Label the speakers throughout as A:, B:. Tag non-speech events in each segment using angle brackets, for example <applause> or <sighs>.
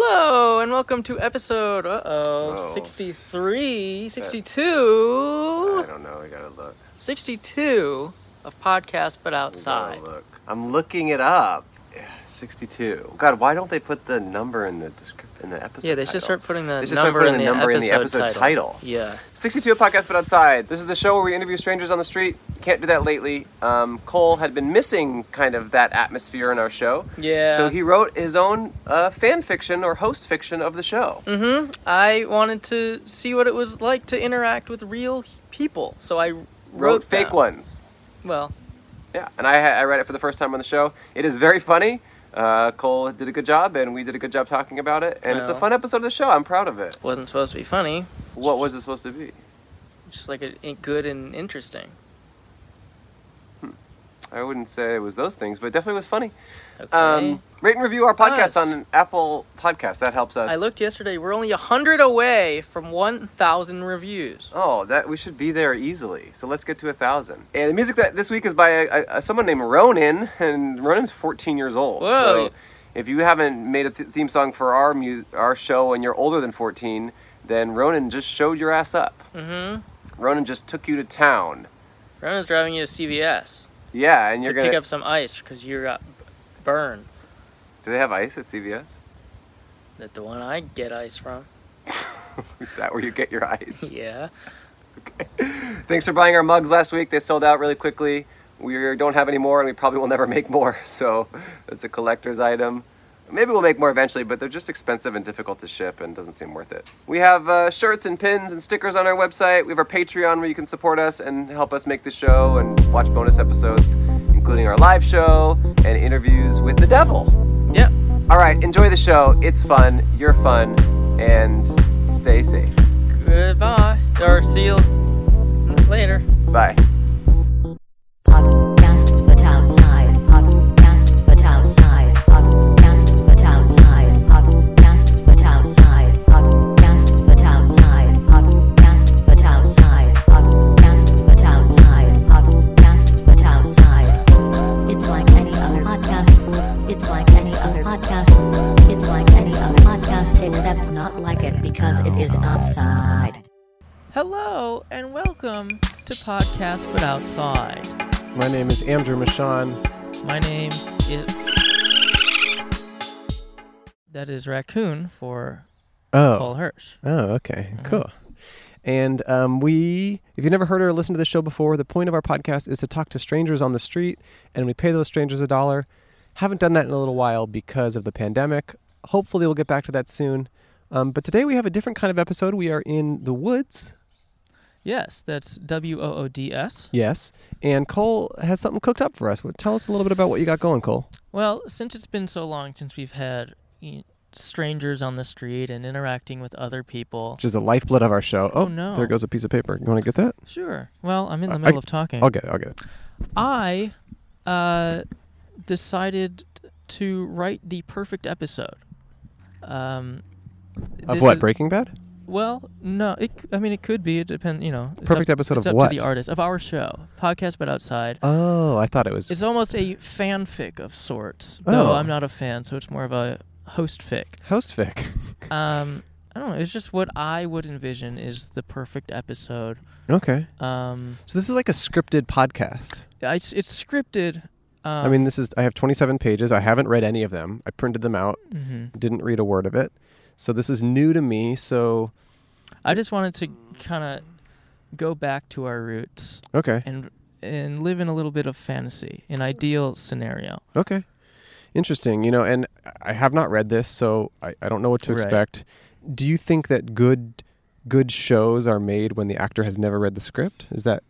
A: Hello and welcome to episode uh oh
B: Oh.
A: 63 62
B: I don't know. I gotta look.
A: 62 of podcast but
B: I gotta
A: outside.
B: Look. I'm looking it up. Yeah, 62. God, why don't they put the number in the description in the episode?
A: Yeah, they should
B: title?
A: start putting the
B: They should start
A: number
B: putting
A: in the,
B: the number in the
A: episode,
B: episode title.
A: Yeah.
B: 62 of podcast, but outside. This is the show where we interview strangers on the street. Can't do that lately. Um, Cole had been missing kind of that atmosphere in our show.
A: Yeah.
B: So he wrote his own uh, fan fiction or host fiction of the show.
A: Mhm. I wanted to see what it was like to interact with real people. So I wrote,
B: Wrote fake
A: down-
B: ones.
A: Well,
B: Yeah, and I, ha- I read it for the first time on the show. It is very funny. Uh, Cole did a good job, and we did a good job talking about it. And it's a
A: Well.
B: fun episode of the show. I'm proud of it.
A: wasn't supposed to be funny,
B: What was it supposed to be?
A: just like a, a good and interesting.
B: I wouldn't say it was those things, but it definitely was funny.
A: Okay.
B: Um, rate and review our
A: Us.
B: podcast on Apple Podcast. That helps us.
A: I looked yesterday. We're only 100 away from 1,000 reviews.
B: Oh, that we should be there easily. So let's get to a thousand. And the music that this week is by a, a, someone named Ronan, and Ronan's 14 years old.
A: Whoa.
B: So if you haven't made a th- theme song for our mu- our show and you're older than 14, then Ronan just showed your ass up.
A: Mm-hmm.
B: Ronan just took you to town.
A: Ronan's driving you to CVS
B: Yeah, and
A: to
B: you're gonna.
A: pick up some ice because you got b- burned.
B: Do they have ice at CVS?
A: That the one I get ice
B: <laughs>
A: from.
B: is that where you get your ice?
A: yeah.
B: Thanks for buying our mugs last week. They sold out really quickly. We don't have any more, and we probably will never <laughs> make more. So it's a collector's item. Maybe we'll make more eventually, but they're just expensive and difficult to ship, and doesn't seem worth it. We have uh, shirts and pins and stickers on our website. We have our Patreon where you can support us and help us make the show and watch bonus episodes, including our live show and interviews with the devil.
A: Yep.
B: All right, enjoy the show. It's fun. You're fun, and stay safe.
A: Goodbye. Or see you later.
B: Bye.
C: Podcast but outside. Podcast but outside. Podcast but outside. Podcast but outside. Podcast but outside. Podcast but outside. Podcast but outside. Podcast but outside. It's like any other podcast. It's like any other podcast. It's like any other podcast except not like it because it is outside.
A: Hello and welcome to Podcast But Outside.
B: My name is Andrew Michon.
A: My name is. That is Raccoon for
B: Oh.
A: Paul Hirsch.
B: Oh, okay. Cool. And um, we, if you've never heard or listened to this show before, the point of our podcast is to talk to strangers on the street and we pay those strangers a dollar. Haven't done that in a little while because of the pandemic. Hopefully, we'll get back to that soon. Um, but today we have a different kind of episode. We are in the woods.
A: Yes, that's W O O D S.
B: Yes. And Cole has something cooked up for us. Well, Tell us a little bit about what you got going, Cole.
A: Well, since it's been so long since we've had y- strangers on the street and interacting with other people.
B: Which is the lifeblood of our show. Oh,
A: no.
B: There goes a piece of paper. You want to get that?
A: Sure. Well, I'm in
B: I-
A: the middle
B: I-
A: of talking.
B: I'll get it. I'll get it.
A: I uh, decided to write the perfect episode. Um,
B: Of
A: this
B: what?
A: is-
B: Breaking Bad?
A: Well, no. It, c- I mean, it could be. It depends. You know. it's
B: Perfect
A: up-
B: episode
A: it's
B: of
A: up
B: what?
A: to the artist of our show, podcast, but outside.
B: Oh, I thought it was.
A: It's almost a fanfic of sorts. Though
B: Oh.
A: I'm not a fan, so it's more of a host fic.
B: House Vic.
A: Um, I don't know. It's just what I would envision is the perfect episode.
B: okay.
A: Um,
B: So this is like a scripted podcast.
A: I, it's it's scripted. Um,
B: I mean, this is I have 27 pages. I haven't read any of them. I printed them out.
A: mhm.
B: Didn't read a word of it. So this is new to me. So
A: I just wanted to kind of go back to our roots
B: okay,
A: and and live in a little bit of fantasy, an ideal scenario.
B: okay, interesting. You know, and I have not read this, so I, I don't know what to
A: Right.
B: expect. Do you think that good good shows are made when the actor has never read the script? Is that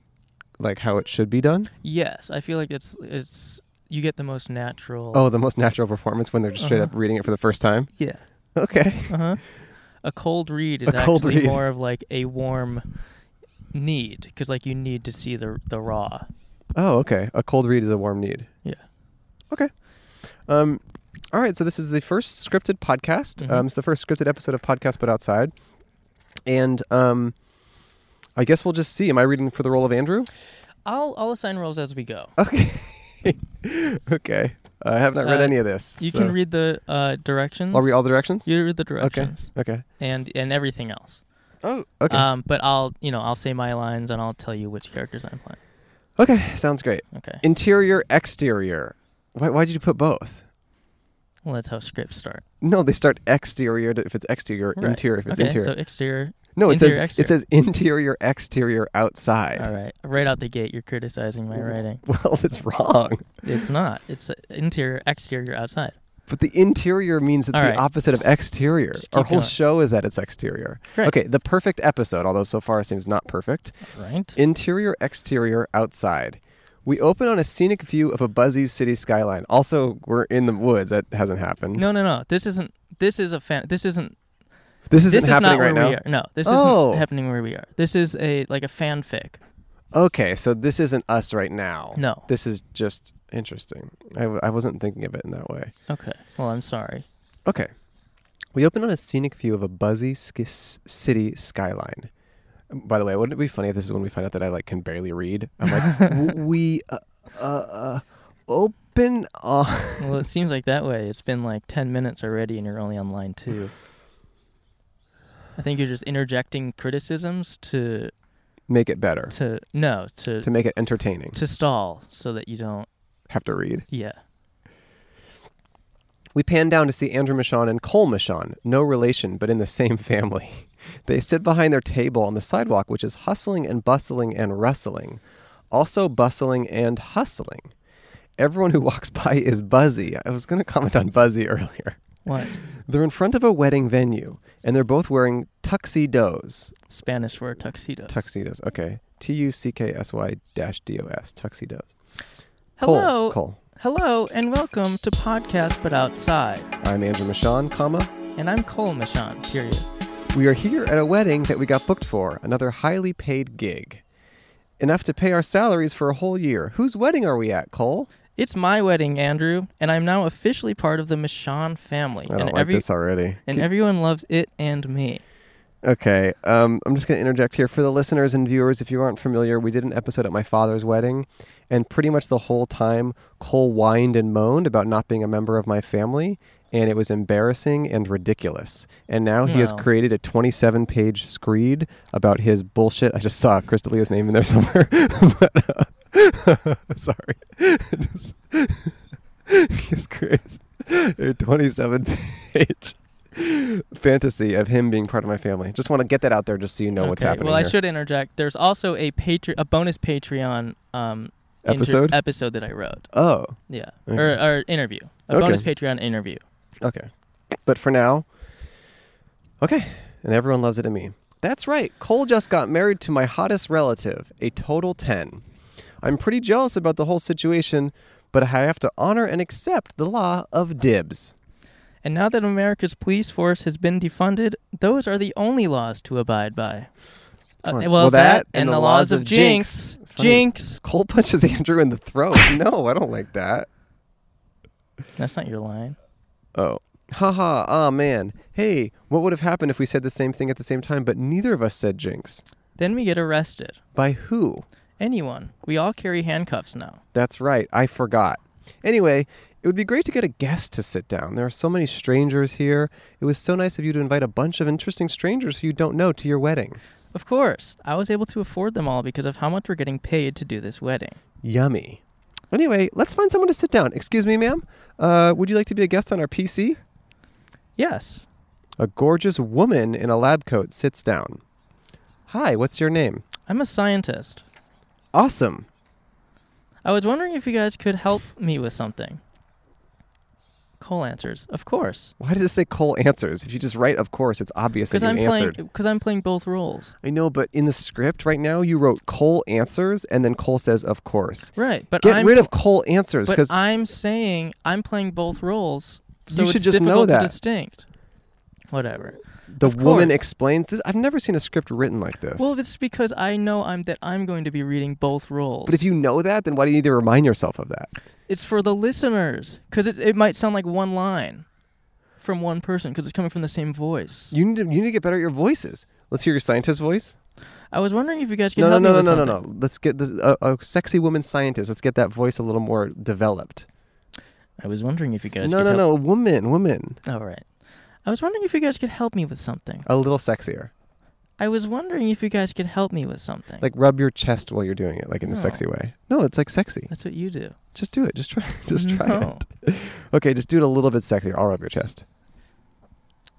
B: like how it should be done?
A: Yes, I feel like it's it's you get the most natural.
B: Oh, the most natural performance when they're just straight up reading it for the first time.
A: yeah.
B: Okay.
A: Uh huh. A cold read is
B: A cold
A: actually
B: read.
A: more of like a warm need because like you need to see the the raw.
B: Oh, okay. A cold read is a warm need.
A: Yeah.
B: Okay. Um, all right. So this is the first scripted podcast.
A: Mm-hmm.
B: Um, it's the first scripted episode of Podcast But Outside. And um, I guess we'll just see. Am I reading for the role of Andrew?
A: I'll I'll assign roles as we go.
B: <laughs> Okay. okay. I have not read
A: Uh,
B: any of this.
A: You
B: so-
A: can read the uh, directions.
B: I'll read all the directions.
A: You read the
B: okay.
A: directions
B: Okay.
A: and and everything else.
B: Oh. Okay.
A: Um, but I'll you know I'll say my lines and I'll tell you which characters I'm playing.
B: okay. Sounds great.
A: Okay.
B: Interior, exterior. Why? Why did you put both?
A: Well, that's how scripts start.
B: No, they start exterior to- if it's exterior,
A: Right.
B: interior if it's
A: okay,
B: interior.
A: So exterior.
B: no, it says
A: interior,
B: it
A: exterior.
B: says interior, exterior, outside.
A: All right. Right out the gate, you're criticizing my writing.
B: <laughs> Well, that's wrong.
A: It's not. It's uh, interior, exterior, outside.
B: But the interior means it's
A: All
B: the
A: right.
B: opposite of exterior.
A: just
B: Our
A: keep
B: whole
A: going.
B: show is that it's exterior.
A: Great.
B: Okay, the perfect episode, although so far it seems not perfect.
A: Right.
B: Interior, exterior, outside. We open on a scenic view of a buzzy city skyline. Also, we're in the woods. That hasn't happened.
A: no, no, no. This isn't. This is a fan. This isn't.
B: this isn't
A: this is
B: happening
A: not where
B: right now.
A: we are. No, this
B: Oh.
A: isn't happening where we are. This is a like a fanfic.
B: Okay, so this isn't us right now.
A: No.
B: This is just interesting. I, w- I wasn't thinking of it in that way.
A: Okay. Well, I'm sorry.
B: Okay. We open on a scenic view of a buzzy sk- s- city skyline. By the way, wouldn't it be funny if this is when we find out that I like can barely read? I'm like, "W- we uh, uh, uh, open on. <laughs>
A: Well, it seems like that way. It's been like 10 minutes already and you're only on line two. I think you're just interjecting criticisms to,
B: make it better
A: to no, to,
B: to
A: to,
B: make it entertaining.
A: stall so that you don't,
B: Have to read.
A: yeah.
B: We pan down to see Andrew Michon and Cole Michon, no relation but in the same family. <laughs> They sit behind their table on the sidewalk, which is hustling and bustling and rustling, also bustling and hustling. Everyone who <laughs> walks by is buzzy. I was going to comment on buzzy <laughs> earlier.
A: What?
B: They're in front of a wedding venue, and they're both wearing tuxedos.
A: Spanish for tuxedo.
B: Tuxedos, okay. T U C K S Y dash D O S, tuxedos.
A: Hello.
B: Cole, Cole.
A: Hello and welcome to Podcast But Outside.
B: I'm Andrew Michon, comma,
A: And I'm Cole Michon, period.
B: We are here at a wedding that we got booked for, another highly paid gig. Enough to pay our salaries for a whole year. Whose wedding are we at, Cole?
A: It's my wedding, Andrew, and I'm now officially part of the Michon family.
B: I don't
A: and
B: like this already.
A: and everyone loves it and me.
B: Okay, um, I'm just going to interject here. For the listeners and viewers, if you aren't familiar, we did an episode at my father's wedding, and pretty much the whole time, Cole whined and moaned about not being a member of my family, and it was embarrassing and ridiculous. And now he has
A: Wow.
B: created a 27 page screed about his bullshit. I just saw Crystalia's name in there somewhere. <laughs> but, uh, <laughs> sorry. <laughs> Just- <laughs> He's created a 27 page fantasy of him being part of my family. Just want to get that out there just so you know what's
A: Okay,
B: happening.
A: Well, I
B: here.
A: should interject. There's also a Patre- a bonus Patreon um, inter-
B: Episode?
A: episode that I wrote.
B: Oh,
A: Yeah,
B: Okay.
A: or, or interview. A
B: Okay.
A: bonus Patreon interview.
B: okay. But for now, okay. And everyone loves it to me. That's right. Cole just got married to my hottest relative, a total 10. I'm pretty jealous about the whole situation, but I have to honor and accept the law of dibs.
A: And now that America's police force has been defunded, those are the only laws to abide by. Uh,
B: Alright.
A: well,
B: Well,
A: that and, the laws, of jinx.
B: jinx. Funny.
A: Jinx.
B: Cole <laughs> punches Andrew in the throat. No, I don't like that.
A: That's not your line.
B: Oh. Haha, ah man. Hey, what would have happened if we said the same thing at the same time, but neither of us said jinx?
A: Then we get arrested.
B: By who?
A: Anyone. We all carry handcuffs now.
B: That's right, I forgot. Anyway, it would be great to get a guest to sit down. There are so many strangers here. It was so nice of you to invite a bunch of interesting strangers who you don't know to your wedding.
A: Of course, I was able to afford them all because of how much we're getting paid to do this wedding.
B: Yummy. Anyway, let's find someone to sit down. Excuse me, ma'am. Uh, would you like to be a guest on our PC?
A: Yes.
B: A gorgeous woman in a lab coat sits down. Hi, what's your name?
A: I'm a scientist.
B: Awesome.
A: I was wondering if you guys could help me with something. Cole answers, "Of course,
B: Why does it say Cole answers? If you just write, of course, it's obvious that
A: because
B: you
A: I'm playing
B: answered.
A: because I'm playing both roles."
B: I know, but in the script right now, you wrote Cole answers, and then Cole says, of course.
A: Right, but
B: Get
A: I'm
B: rid of Cole answers,
A: but
B: because
A: I'm saying I'm playing both roles, so
B: You should
A: it's
B: just know
A: difficult
B: that.
A: to distinct. Whatever.
B: the
A: of
B: woman
A: course.
B: explains this. I've never seen a script written like this.
A: Well, it's because I know I'm that I'm going to be reading both roles.
B: but if you know that, then why do you need to remind yourself of that?
A: it's for the listeners, because it it might sound like one line from one person, because it's coming from the same voice.
B: You need to, you need to get better at your voices. Let's hear your scientist voice.
A: I was wondering if you guys could
B: No, no,
A: help
B: no,
A: me
B: no,
A: with
B: no, no,
A: something.
B: no. Let's get this, a, a sexy woman scientist. Let's get that voice a little more developed.
A: I was wondering if you guys
B: No,
A: could
B: no,
A: help-
B: no. Woman, woman.
A: All right. I was wondering if you guys could help me with something.
B: A little sexier.
A: I was wondering if you guys could help me with something.
B: Like rub your chest while you're doing it, like in a
A: No.
B: sexy way. No, it's like sexy.
A: that's what you do.
B: Just do it. Just try. <laughs> Just try
A: No.
B: it. Okay, just do it a little bit sexier. I'll rub your chest.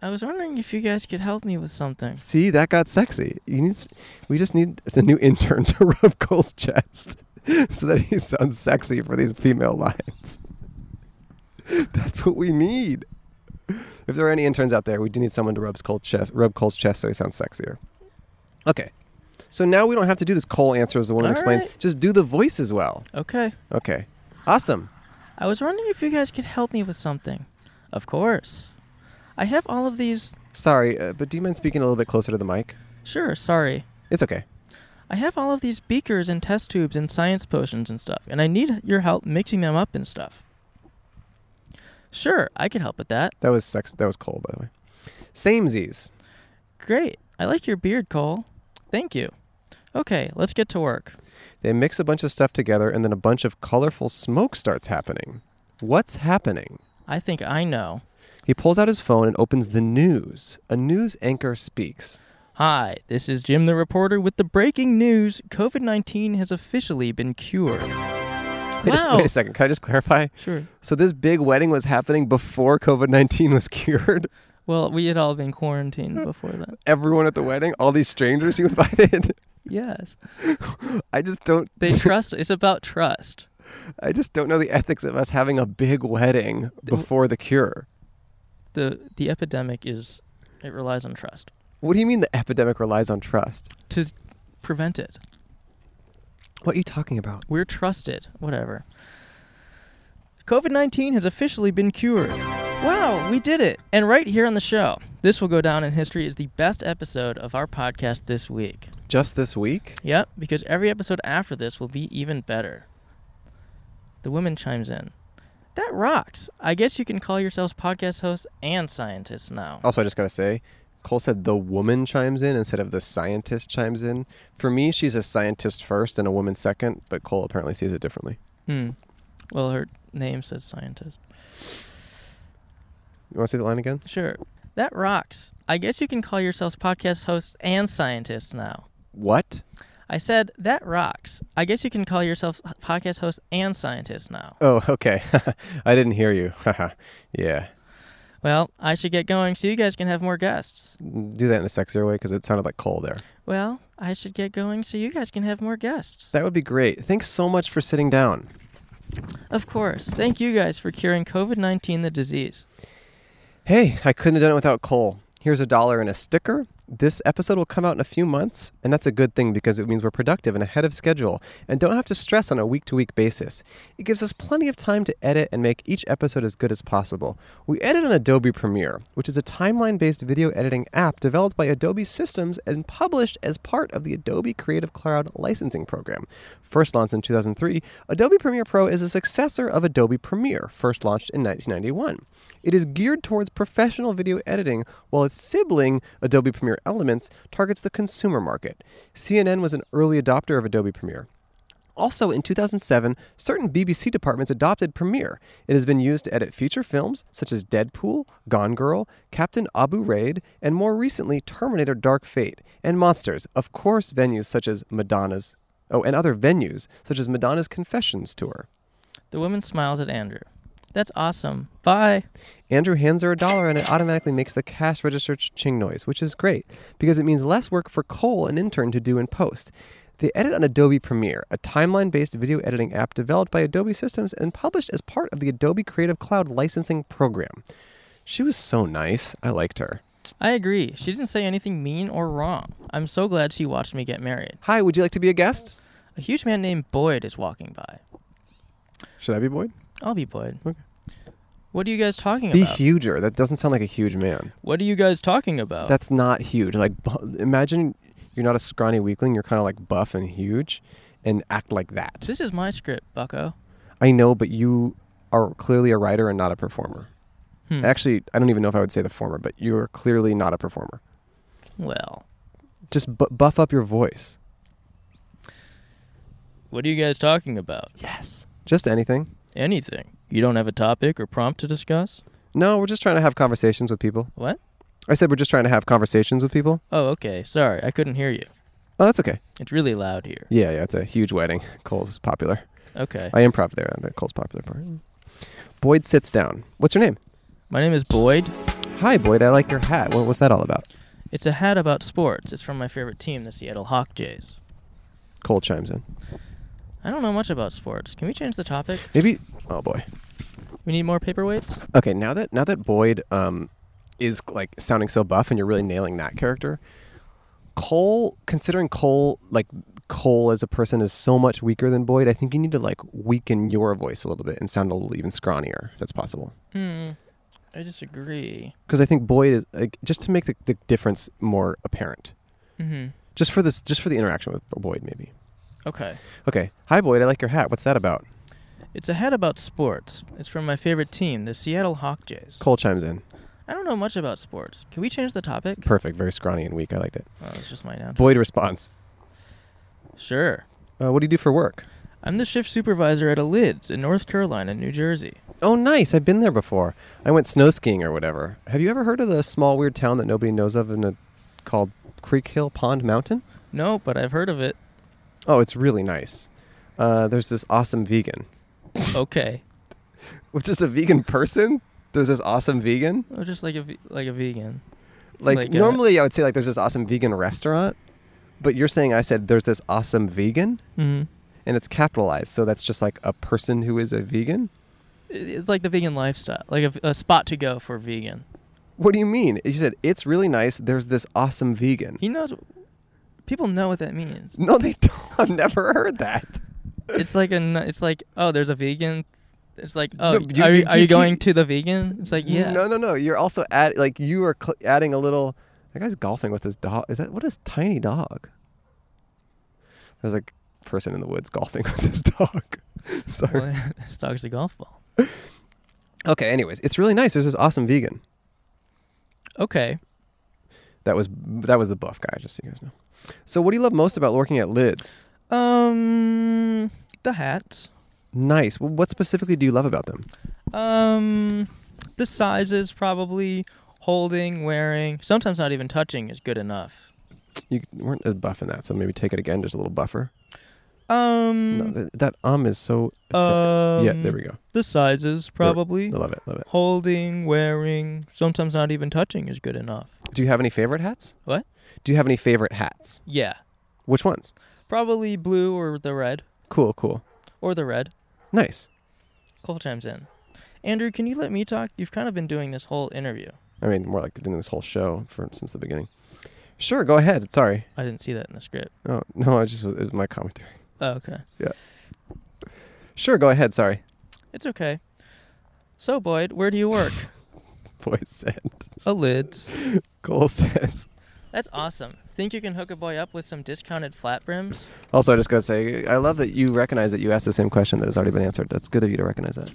A: I was wondering if you guys could help me with something.
B: See, that got sexy. You need. s- We just need the new intern <laughs> to rub Cole's chest, <laughs> so that he sounds sexy for these female lines. <laughs> That's what we need. If there are any interns out there, we do need someone to rub Cole's chest, rub Cole's chest, so he sounds sexier. Okay. So now we don't have to do this. Cole answers the woman
A: All
B: explains.
A: right.
B: Just do the voice as well.
A: Okay.
B: Okay. Awesome.
A: I was wondering if you guys could help me with something. Of course. I have all of these.
B: Sorry, uh, but do you mind speaking a little bit closer to the mic?
A: Sure, sorry.
B: It's okay.
A: I have all of these beakers and test tubes and science potions and stuff, and I need your help mixing them up and stuff. Sure, I could help with that.
B: That was sex. That was Cole, by the way. Samesies.
A: Great. I like your beard, Cole. Thank you. Okay, let's get to work.
B: They mix a bunch of stuff together, and then a bunch of colorful smoke starts happening. What's happening?
A: I think I know.
B: He pulls out his phone and opens the news. A news anchor speaks.
A: Hi, this is Jim the reporter with the breaking news. COVID 19 has officially been cured.
B: Wait, a s-
A: Wow.
B: wait a second. Can I just clarify?
A: Sure.
B: So this big wedding was happening before COVID nineteen was <laughs> cured.
A: Well, we had all been quarantined before that.
B: Everyone at the wedding, all these strangers you <laughs> invited.
A: <laughs> Yes.
B: I just don't.
A: They trust. It's about trust.
B: I just don't know the ethics of us having a big wedding before the cure.
A: The, the epidemic is, it relies on trust
B: What do you mean the epidemic relies on trust?
A: to prevent it.
B: What are you talking about?
A: We're trusted. Whatever. COVID 19 has officially been cured. Wow, we did it. And right here on the show, this will go down in history as the best episode of our podcast this week.
B: Just this week?
A: Yep, because every episode after this will be even better. The woman chimes in. That rocks. I guess you can call yourselves podcast hosts and scientists now.
B: Also, I just gotta say, Cole said the woman chimes in instead of the scientist chimes in. For me, she's a scientist first and a woman second, but Cole apparently sees it differently.
A: Hmm. Well, her name says scientist.
B: You wanna say that line again?
A: Sure. That rocks. I guess you can call yourselves podcast hosts and scientists now.
B: What?
A: I said, that rocks. I guess you can call yourselves podcast hosts and scientists now.
B: Oh, <laughs> okay. I didn't hear you. <laughs> yeah.
A: Well, I should get going so you guys can have more guests.
B: Do that in a sexier way because it sounded like Cole there.
A: Well, I should get going so you guys can have more guests.
B: That would be great. Thanks so much for sitting down.
A: Of course. Thank you guys for curing COVID 19, the disease.
B: Hey, I couldn't have done it without Cole. Here's a dollar and a sticker. This episode will come out in a few months, and that's a good thing because it means we're productive and ahead of schedule and don't have to stress on a week to week basis. It gives us plenty of time to edit and make each episode as good as possible. We edit on Adobe Premiere, which is a timeline based video editing app developed by Adobe Systems and published as part of the Adobe Creative Cloud licensing program. First launched in 2003, Adobe Premiere Pro is a successor of Adobe Premiere, first launched in 1991. It is geared towards professional video editing, while its sibling, Adobe Premiere Elements, targets the consumer market. CNN was an early adopter of Adobe Premiere. Also, in 2007, certain BBC departments adopted Premiere. It has been used to edit feature films such as Deadpool, Gone Girl, Captain Abu Raid, and more recently, Terminator Dark Fate, and Monsters, of course, venues such as Madonna's, oh, and other venues such as Madonna's Confessions Tour.
A: The woman smiles at Andrew. That's awesome. Bye.
B: Andrew hands her a dollar and it automatically makes the cash register ching noise, which is great because it means less work for Cole, an intern, to do in post. They edit on Adobe Premiere, a timeline based video editing app developed by Adobe Systems and published as part of the Adobe Creative Cloud licensing program. She was so nice. I liked her.
A: I agree. She didn't say anything mean or wrong. I'm so glad she watched me get married.
B: Hi, would you like to be a guest?
A: A huge man named Boyd is walking by.
B: Should I be Boyd?
A: I'll be Boyd.
B: Okay.
A: What are you guys talking
B: Be
A: about?
B: huger. That doesn't sound like a huge man.
A: what are you guys talking about?
B: That's not huge. Like, bu- imagine you're not a scrawny weakling, you're kind of like buff and huge and act like that.
A: this is my script, bucko.
B: I know, but you are clearly a writer and not a performer.
A: Hmm.
B: Actually, I don't even know if I would say the former, but you are clearly not a performer.
A: Well,
B: Just bu- buff up your voice.
A: what are you guys talking about?
B: Yes. Just anything.
A: Anything. You don't have a topic or prompt to discuss?
B: No, we're just trying to have conversations with people.
A: What?
B: I said we're just trying to have conversations with people.
A: Oh, okay. Sorry, I couldn't hear you.
B: Oh, that's okay.
A: It's really loud here.
B: Yeah, yeah, it's a huge wedding. <laughs> Cole's is popular.
A: Okay.
B: I improv there. The Cole's popular part. Boyd sits down. What's your name?
A: My name is Boyd.
B: Hi, Boyd. I like your hat. What was that all about?
A: It's a hat about sports. It's from my favorite team, the Seattle Hawk Jays.
B: Cole chimes in.
A: I don't know much about sports. Can we change the topic?
B: Maybe. Oh boy.
A: We need more paperweights?
B: Okay, now that now that Boyd um, is like sounding so buff and you're really nailing that character, Cole, considering Cole like Cole as a person is so much weaker than Boyd, I think you need to like weaken your voice a little bit and sound a little even scrawnier if that's possible.
A: Hmm. I disagree.
B: Because I think Boyd is like just to make the, the difference more apparent.
A: hmm
B: Just for this, just for the interaction with Boyd, maybe.
A: Okay.
B: Okay, hi Boyd. I like your hat. What's that about?
A: It's a hat about sports. It's from my favorite team, the Seattle Hawk Jays.
B: Cole chimes in.
A: I don't know much about sports. Can we change the topic?
B: Perfect. Very scrawny and weak. I liked it.
A: Oh, it's just my noun.
B: Boyd responds.
A: Sure.
B: Uh, what do you do for work?
A: I'm the shift supervisor at a Lids in North Carolina, New Jersey.
B: Oh, nice. I've been there before. I went snow skiing or whatever. Have you ever heard of the small weird town that nobody knows of in a, called Creek Hill Pond Mountain?
A: No, but I've heard of
B: <coughs>
A: it.
B: Oh, it's really nice. Uh, there's this awesome vegan.
A: Okay.
B: Which is a vegan person? There's this awesome vegan?
A: Oh, just like a ve- like a vegan.
B: Like,
A: Like, uh,
B: normally I would say like there's this awesome vegan restaurant, but you're saying I said there's this awesome vegan
A: hmm
B: and it's capitalized. So that's just like a person who is a vegan?
A: It's like the vegan lifestyle, like a, a spot to go for vegan.
B: What do you mean? You said it's really nice. There's this awesome vegan.
A: He knows. People know what that means.
B: No, they don't. <laughs> I've never heard that.
A: <laughs> It's like a. n- It's like oh, there's a vegan. It's like oh,
B: <laughs> No, you-
A: are
B: you-
A: you, are
B: you
A: you going
B: keep-
A: to the vegan? It's like yeah.
B: No, no, no. You're also add like you are cl- adding a little. That guy's golfing with his dog. Is that what is tiny dog? There's like a person in the woods golfing <laughs> with his dog. Sorry.
A: Well, <laughs> this dog's a golf ball.
B: Okay. Anyways, it's really nice. There's this awesome vegan.
A: Okay.
B: That was that was the buff guy. Just so you guys know. So, what do you love most about working at Lids?
A: Um, the hats.
B: Nice. Well, what specifically do you love about them?
A: Um, the sizes probably holding, wearing, sometimes not even touching is good enough.
B: You weren't as buff in that, so maybe take it again. Just a little buffer. No,
A: Um,
B: that, that um is so.
A: um,
B: yeah. There we go.
A: The sizes probably
B: I love it. Love it.
A: holding, wearing, sometimes not even touching is good enough.
B: Do you have any favorite hats?
A: What?
B: Do you have any favorite hats?
A: Yeah,
B: Which ones?
A: probably blue or the red
B: Cool, cool.
A: or the red.
B: Nice.
A: Cole chimes in. Andrew, can you let me talk? You've kind of been doing this whole interview.
B: I mean, more like doing this whole show for since the beginning. Sure, go ahead. Sorry.
A: I didn't see that in the script.
B: Oh, <laughs> no, I just it was my commentary.
A: Oh, okay.
B: Sure, go ahead. Sorry. <laughs>
A: It's okay. So, Boyd, where do you
B: <laughs>
A: work?
B: Boy said.
A: a lids.
B: Cole says. <laughs>
A: That's awesome. Think you can hook a boy up with some discounted flat brims?
B: Also, I just gotta say, I love that you recognize that you asked the same question that has already been answered. That's good of you to recognize that.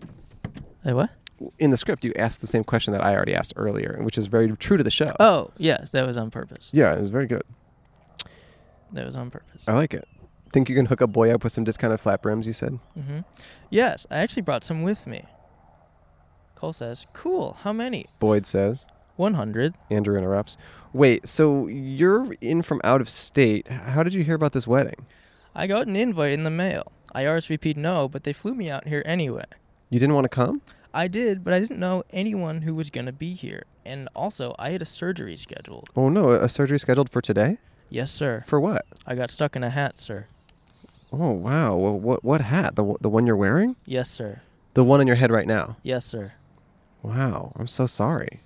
A: Hey, what?
B: In the script, you asked the same question that I already asked earlier, which is very true to the show.
A: Oh, yes, that was on purpose.
B: Yeah, Uh-huh. it was very good.
A: That was on purpose.
B: I like it. Think you can hook a boy up with some discounted flat brims? You said.
A: hmm Yes, I actually brought some with me. Cole says, Cool, how many?
B: Boyd says.
A: 100.
B: Andrew interrupts. Wait, so you're in from out of state. How did you hear about this wedding?
A: I got an invite in the mail. I RSVP'd no, but they flew me out here anyway.
B: You didn't want to come?
A: I did, but I didn't know anyone who was going to be here. And also, I had a surgery scheduled.
B: Oh no, a surgery scheduled for today?
A: Yes, sir.
B: For what?
A: I got stuck in a hat, sir.
B: Oh wow. Well, what what hat? The the one you're wearing?
A: Yes, sir.
B: The one on your head right now.
A: Yes, sir.
B: Wow. I'm so sorry.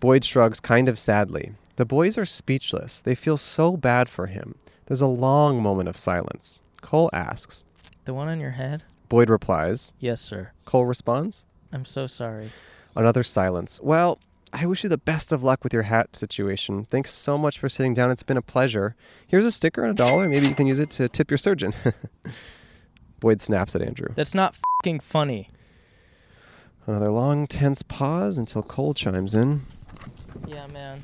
B: Boyd shrugs kind of sadly. The boys are speechless. They feel so bad for him. There's a long moment of silence. Cole asks.
A: The one on your head?
B: Boyd replies.
A: Yes, sir.
B: Cole responds.
A: I'm so sorry.
B: Another silence. Well, I wish you the best of luck with your hat situation. Thanks so much for sitting down. It's been a pleasure. Here's a sticker and a dollar. Maybe you can use it to tip your surgeon. <laughs> Boyd snaps at Andrew.
A: That's not fing funny.
B: Another long, tense pause until Cole chimes in.
A: Yeah, man.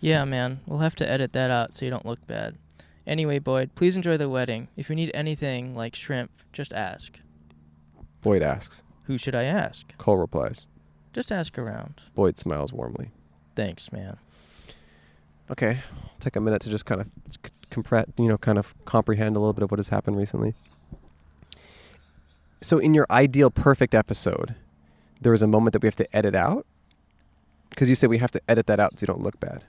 A: Yeah, man. We'll have to edit that out so you don't look bad. Anyway, Boyd, please enjoy the wedding. If you need anything, like shrimp, just ask.
B: Boyd asks.
A: Who should I ask?
B: Cole replies.
A: Just ask around.
B: Boyd smiles warmly.
A: Thanks, man.
B: Okay, take a minute to just kind of c- compre- you know, kind of comprehend a little bit of what has happened recently. So, in your ideal perfect episode, there is a moment that we have to edit out because you said we have to edit that out so you don't look bad.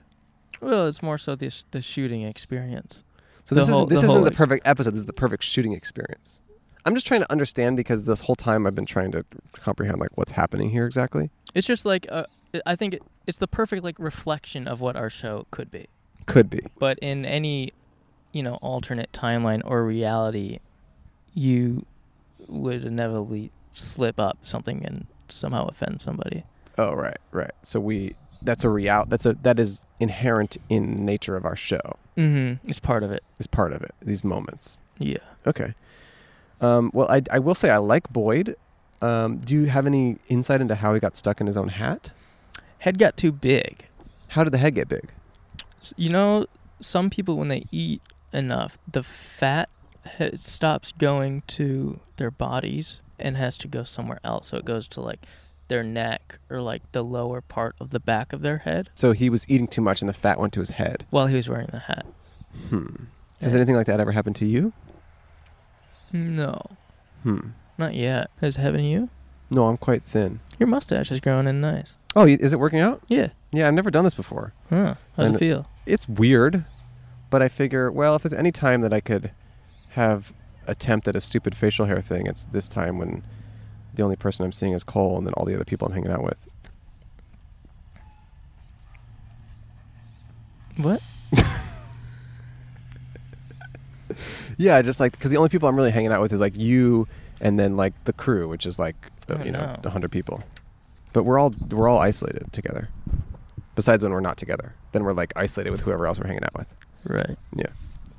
A: Well, it's more so this the shooting experience.
B: So
A: The
B: this
A: whole-
B: isn't this
A: the
B: isn't
A: whole
B: the
A: ex-
B: perfect episode. This is the perfect shooting experience. I'm just trying to understand because this whole time I've been trying to comprehend like what's happening here exactly.
A: It's just like uh, I think it, it's the perfect like reflection of what our show could be,
B: Could be.
A: but in any you know alternate timeline or reality, you would inevitably slip up something and somehow offend somebody.
B: Oh right, right. So we that's a real that's a that is inherent in nature of our show
A: Mm-hmm. It's part of it.
B: is part of it. These moments.
A: Yeah.
B: Okay. Um, well, I I will say I like Boyd. Um, do you have any insight into how he got stuck in his own hat?
A: Head got too big.
B: How did the head get big?
A: S- You know, some people when they eat enough, the fat ha- stops going to their bodies and has to go somewhere else. So it goes to like their neck or like the lower part of the back of their head
B: So he was eating too much and the fat went to his head.
A: while he was wearing the hat.
B: Hmm. Has
A: Yeah.
B: anything like that ever happened to you?
A: No,
B: Hmm.
A: not yet. Has it happened to you?
B: No, I'm quite thin.
A: Your mustache is growing in nice.
B: Oh, y- is it working out?
A: Yeah.
B: Yeah, I've never done this before.
A: Huh. How's
B: And-
A: it feel?
B: It's weird, but I figure, well, if there's any time that I could have attempt at a stupid facial hair thing, it's this time when the only person I'm seeing is Cole and then all the other people I'm hanging out with.
A: What?
B: <laughs> Yeah, just like because the only people I'm really hanging out with is like you and then like the crew, which is like uh,
A: Oh,
B: you know
A: no.
B: a hundred people. But we're all we're all isolated together. Besides when we're not together, then we're like isolated with whoever else we're hanging out with.
A: Right.
B: Yeah.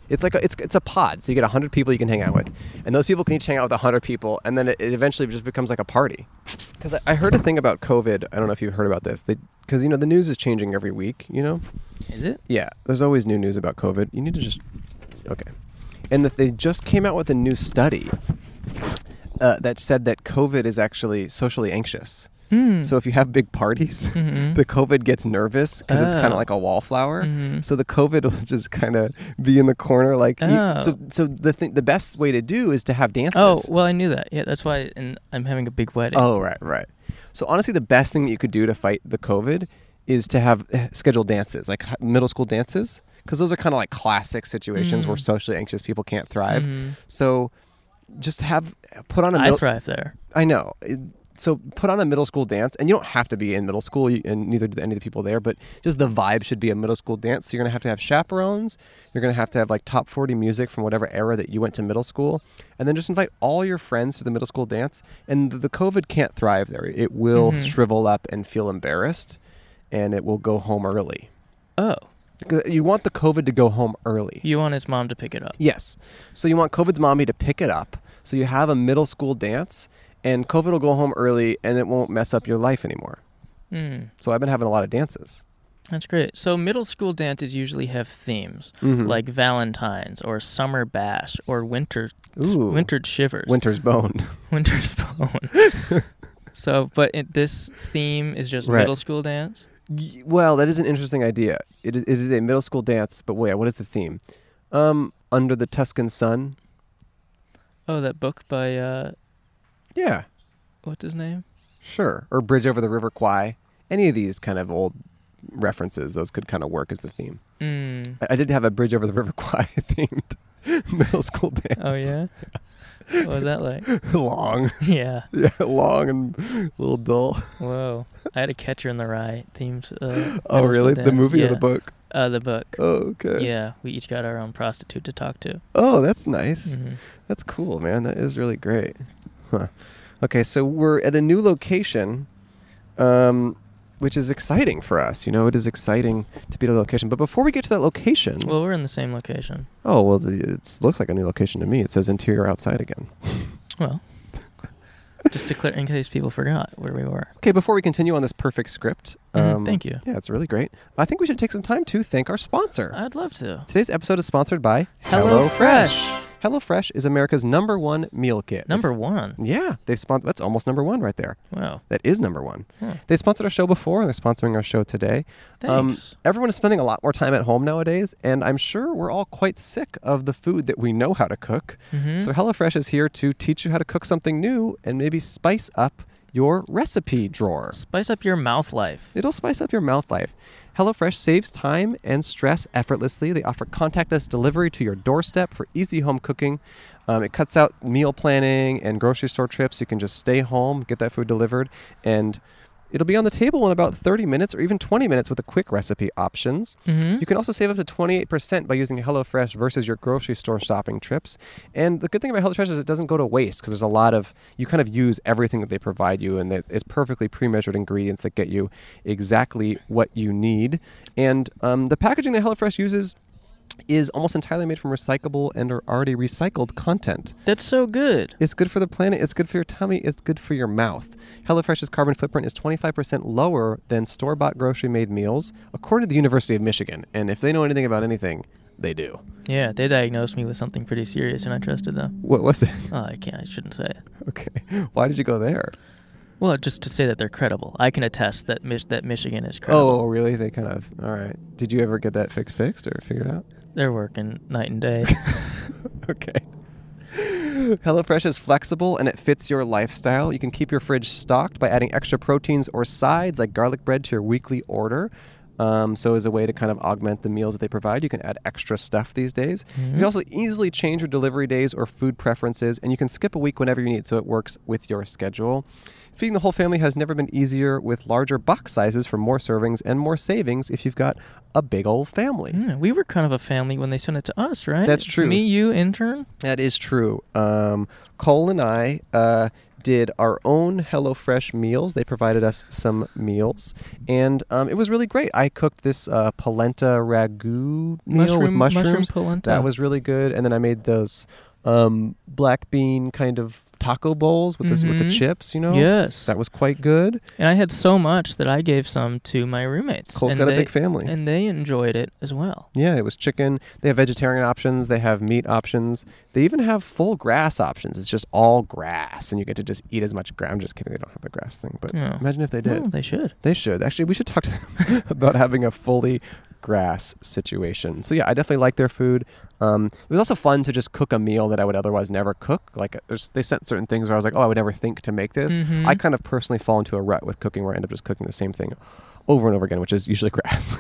B: It's like a, it's it's a pod, so you get hundred people you can hang out with, and those people can each hang out with hundred people, and then it, it eventually just becomes like a party. Because I, I heard a thing about COVID. I don't know if you heard about this. Because you know the news is changing every week. You know,
A: Is it?
B: yeah. There's always new news about COVID. You need to just okay. And that they just came out with a new study uh, that said that COVID is actually socially anxious.
A: Hmm.
B: So if you have big parties,
A: Mhm.
B: <laughs> the COVID gets nervous because it's kind of
A: Oh.
B: like a wallflower.
A: Mhm.
B: So the COVID <laughs> will just kind of be in the corner, like you-
A: Oh.
B: so. So the thing, the best way to do is to have dances.
A: Oh well, I knew that. Yeah, that's why. And I'm having a big wedding.
B: oh, right, right. So honestly, the best thing that you could do to fight the COVID is to have eh, scheduled dances, like h- middle school dances, because those are kind of like classic situations where
A: Mm.
B: socially anxious people can't thrive.
A: Mhm.
B: So just have put on a
A: I
B: mil-
A: thrive there.
B: I know. It- So put on a middle school dance, and you don't have to be in middle school, you- and neither do any of the people there. But just the vibe should be a middle school dance. So you're gonna have to have chaperones. You're gonna have to have like top forty music from whatever era that you went to middle school, and then just invite all your friends to the middle school dance. And the COVID can't thrive there. It will shrivel up and feel embarrassed, and it will go home early.
A: Oh,
B: 'Cause You want the COVID to go home early.
A: you want his mom to pick it up?
B: Yes. So you want COVID's mommy to pick it up. So you have a middle school dance, and COVID will go home early, and it won't mess up your life anymore.
A: Hmm.
B: So I've been having a lot of dances.
A: That's great. So middle school dances usually have themes
B: Mm-hmm.
A: like Valentine's or summer bash or winter
B: Ooh.
A: wintered shivers,
B: Winter's bone.
A: winter's <laughs> bone.
B: <laughs>
A: so, but it, this theme is just
B: Right.
A: middle school dance.
B: Y- well, that is an interesting idea. It is, it is a middle school dance, but wait, what is the theme? Um, under the Tuscan sun.
A: Oh, that book by uh,
B: Yeah,
A: what's his name?
B: sure. Or bridge over the river Kwai. Any of these kind of old references, those could kind of work as the theme.
A: Mm.
B: I, I did have a bridge over the river <laughs> Kwai themed <laughs> middle school dance.
A: Oh yeah. what was that
B: <laughs>
A: like?
B: long.
A: Yeah.
B: <laughs> Yeah, long and a little dull.
A: Whoa. I had a Catcher in the Rye themes. Uh,
B: Oh,
A: middle school
B: really? The
A: dance.
B: movie or the
A: Yeah.
B: book?
A: Uh, the book.
B: Oh, okay.
A: Yeah, we each got our own prostitute to talk to.
B: Oh, that's nice.
A: hmm
B: That's cool, man. That is really great. Huh. Okay, so we're at a new location, um, which is exciting for us. You know, it is exciting to be at a location. But before we get to that location,
A: Well, we're in the same location.
B: oh well, the- it looks like a new location to me. It says interior outside again. <laughs>
A: Well, just to clear, in case people forgot where we were.
B: Okay, before we continue on this perfect script, um,
A: Mhm, thank you.
B: Yeah, it's really great. I think we should take some time to thank our sponsor.
A: I'd love to.
B: Today's episode is sponsored by
A: HelloFresh.
B: HelloFresh is America's number one meal kit.
A: Number
B: It's-
A: one.
B: Yeah, they've sponsored. That's almost number one right there.
A: Wow.
B: That is number one.
A: Huh.
B: They sponsored our show before, and they're sponsoring our show today. Um,
A: Thanks.
B: everyone is spending a lot more time at home nowadays, and I'm sure we're all quite sick of the food that we know how to cook.
A: Mm-hmm.
B: So HelloFresh is here to teach you how to cook something new and maybe spice up your recipe drawer.
A: Spice up your mouth life.
B: It'll spice up your mouth life. HelloFresh saves time and stress effortlessly. They offer contactless delivery to your doorstep for easy home cooking. Um, it cuts out meal planning and grocery store trips. You can just stay home, get that food delivered, and it'll be on the table in about 30 minutes or even 20 minutes with the quick recipe options. You can also save up to 28% by using HelloFresh versus your grocery store shopping trips. And the good thing about HelloFresh is it doesn't go to waste because there's a lot of, you kind of use everything that they provide you and that is perfectly pre measured ingredients that get you exactly what you need. And um, the packaging that HelloFresh uses is almost entirely made from recyclable and or already recycled content.
A: That's so good.
B: It's good for the planet. It's good for your tummy. It's good for your mouth. HelloFresh's carbon footprint is 25% lower than store bought grocery made meals, according to the University of Michigan. And if they know anything about anything, they do.
A: Yeah, they diagnosed me with something pretty serious and I trusted them.
B: What was it?
A: Oh, I can't. I shouldn't say it.
B: <laughs> Okay. Why did you go there?
A: Well, just to say that they're credible. I can attest that Mich- that Michigan is credible.
B: Oh, really? They kind of. All right. Did you ever get that fixed, fixed, or figured out?
A: They're working night and day.
B: <laughs> okay. HelloFresh is flexible and it fits your lifestyle. You can keep your fridge stocked by adding extra proteins or sides like garlic bread to your weekly order. Um, so, as a way to kind of augment the meals that they provide, you can add extra stuff these days. You can also easily change your delivery days or food preferences, and you can skip a week whenever you need, so it works with your schedule. Feeding the whole family has never been easier with larger box sizes for more servings and more savings if you've got a big old family.
A: Yeah, we were kind of a family when they sent it to us, right?
B: That's
A: It's
B: true.
A: Me, you, intern.
B: That is true. Um, Cole and I uh, did our own HelloFresh meals. They provided us some meals, and um, it was really great. I cooked this uh, polenta ragu meal with
A: Mushroom- mushroom
B: mushrooms.
A: polenta.
B: That was really good. And then I made those um, black bean kind of taco bowls with this with the
A: Mhm.
B: chips. You know,
A: Yes.
B: that was quite good.
A: And I had so much that I gave some to my roommates.
B: Cole's
A: and
B: got a
A: they-
B: big family.
A: And they enjoyed it as well.
B: Yeah, it was chicken. They have vegetarian options. They have meat options. They even have full grass options. It's just all grass, and you get to just eat as much grass. I'm just kidding. They don't have the grass thing, but
A: Yeah. Hmm.
B: imagine if they did.
A: Well, they
B: <laughs>
A: should.
B: They should. Actually, we should talk to them <laughs> about having a fully grass situation. So yeah, I definitely like their food. Um, it was also fun to just cook a meal that I would otherwise never cook. Like uh, there's, they sent certain things where I was like, oh, I would never think to make this.
A: Mhm.
B: I kind of personally fall into a rut with cooking where I end up just cooking the same thing over and over again, which is usually <laughs> grass.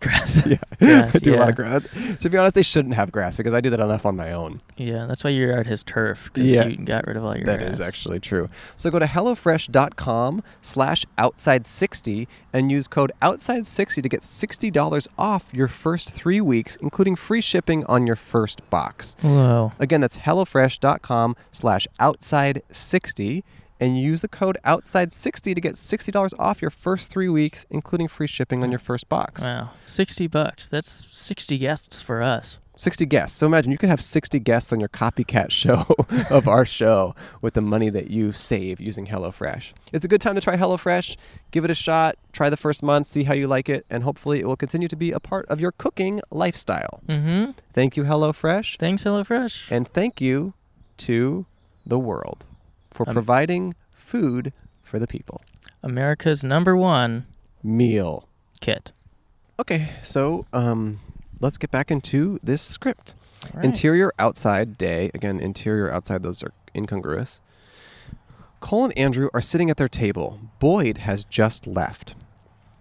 A: Grass.
B: <laughs> Yeah,
A: Grass,
B: I do a lot
A: yeah.
B: of grass. To be honest, they shouldn't have grass because I do that enough on my own.
A: Yeah, that's why your yard has turf. 'cause
B: Yeah.
A: you got rid of all your.
B: That is actually true. So go to HelloFresh.com slash outside60 and use code outside60 to get $60 off your first three weeks, including free shipping on your first box.
A: Whoa.
B: Again, that's HelloFresh.com slash outside60 and use the code outside60 to get $60 off your first three weeks, including free shipping on your first box.
A: Wow. Sixty bucks. That's sixty guests for us.
B: 60 guests. So imagine you could have 60 guests on your copycat <laughs> show of our show with the money that you save using HelloFresh. It's a good time to try HelloFresh. Give it a shot. Try the first month, see how you like it, and hopefully it will continue to be a part of your cooking lifestyle.
A: Mm-hmm.
B: Thank you, HelloFresh.
A: Thanks, HelloFresh.
B: And thank you to the world for providing food for the people.
A: America's number one
B: Meal.
A: kit.
B: Okay, so um, let's get back into this script.
A: right.
B: Interior outside day. Again, interior outside, those are incongruous. Cole and Andrew are sitting at their table. Boyd has just left. <laughs>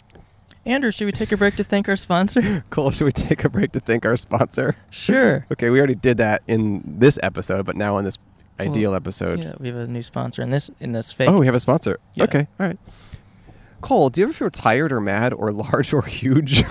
A: Andrew, should we take a break to thank our
B: <laughs>
A: sponsor?
B: Cole, should we take a break to thank our sponsor?
A: sure.
B: <laughs> Okay, we already did that in this episode, but now on this ideal episode.
A: Yeah, we have a new sponsor in this in this fake.
B: Oh, we have a sponsor.
A: Yeah.
B: Okay, all right. Cole, do you ever feel tired or mad or <laughs> large or huge?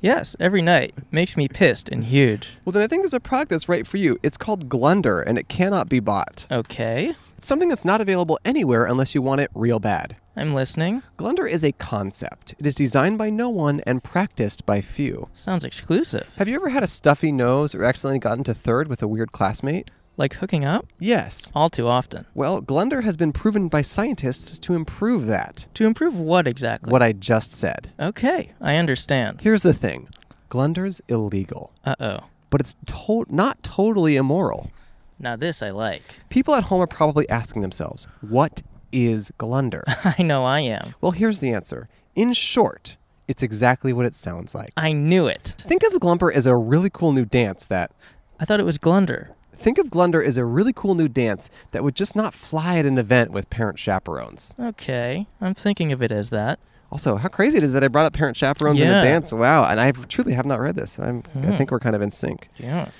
A: Yes, every night makes me pissed and huge.
B: well, then I think there's a product that's right for you. It's called Glunder, and it cannot be bought.
A: Uh. Okay,
B: It's something that's not available anywhere unless you want it real bad.
A: I'm listening.
B: Glunder is a concept. It is designed by no one and practiced by few.
A: Sounds exclusive.
B: Have you ever had a stuffy nose or accidentally gotten to third with a weird classmate?
A: Like hooking up?
B: Yes.
A: All too often.
B: Well, Glunder has been proven by scientists to improve that.
A: To improve what exactly?
B: What I just said.
A: Okay, I understand.
B: Here's the thing Glunder's illegal.
A: Uh oh.
B: but it's to- not totally immoral.
A: Now this I like. <laughs>
B: People at home are probably asking themselves, what is glunder?
A: I know I am.
B: well, here's the answer. In short, it's exactly what it sounds like.
A: I knew it.
B: Think of glumper as a really cool new dance that
A: I thought it was Glunder.
B: Think of Glunder as a really cool new dance that would just not fly at an event with parent chaperones.
A: Okay, I'm thinking of it as that.
B: Also, how crazy it is that I brought up parent chaperones in
A: Yeah. Hmm.
B: a dance. Wow, and I truly have not read this. I'm, I think we're kind of in sync.
A: Yeah.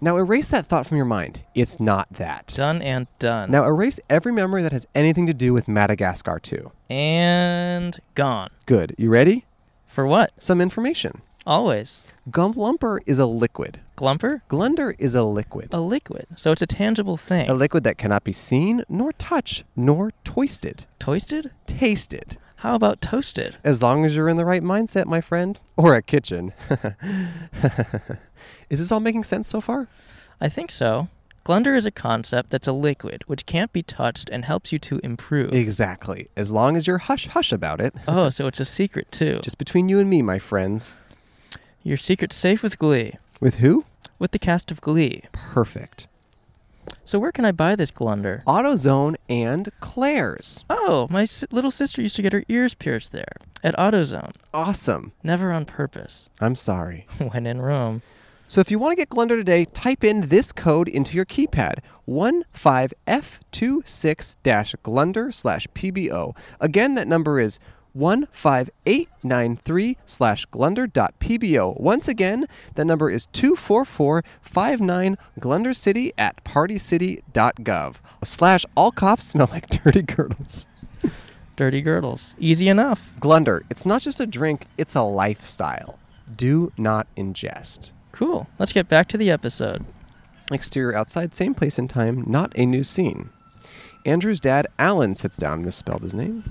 B: Now erase that thought from your mind. It's not that.
A: Done and done.
B: Now erase every memory that has anything to do with Madagascar 2.
A: And gone.
B: Good. You ready?
A: For what?
B: Some information.
A: Always.
B: Gumlumper is a liquid.
A: Glumper?
B: Glunder is a liquid.
A: A liquid. So it's a tangible thing.
B: A liquid that cannot be seen, nor touched, nor toisted.
A: Toasted?
B: Tasted.
A: How about toasted?
B: As long as you're in the right mindset, my friend, or a kitchen. <laughs> is this all making sense so far?
A: I think so. Glunder is a concept that's a liquid which can't be touched and helps you to improve.
B: Exactly. As long as you're hush hush about it.
A: oh, so it's a secret too.
B: Just between you and me, my friends.
A: Your secret's safe with Glee,
B: With who?
A: with the cast of Glee.
B: Perfect.
A: So where can I buy this Glunder?
B: AutoZone and Claire's.
A: Oh, my s- little sister used to get her ears pierced there at AutoZone.
B: Awesome.
A: Never on purpose. <laughs>
B: I'm sorry.
A: when in Rome.
B: So if you want to get Glunder today, type in this code into your keypad 15F26 Glunder slash PBO. Again, that number is 15893 slash Glunder dot PBO. Once again, that number is 24459 Glunder City at partycity.gov slash all cops smell like <laughs> dirty girdles.
A: Dirty girdles. Easy enough.
B: Glunder, it's not just a drink, it's a lifestyle. Do not ingest.
A: Cool. Let's get back to the episode.
B: Exterior outside, same place and time, not a new scene. Andrew's dad, Alan, sits down and misspelled his name.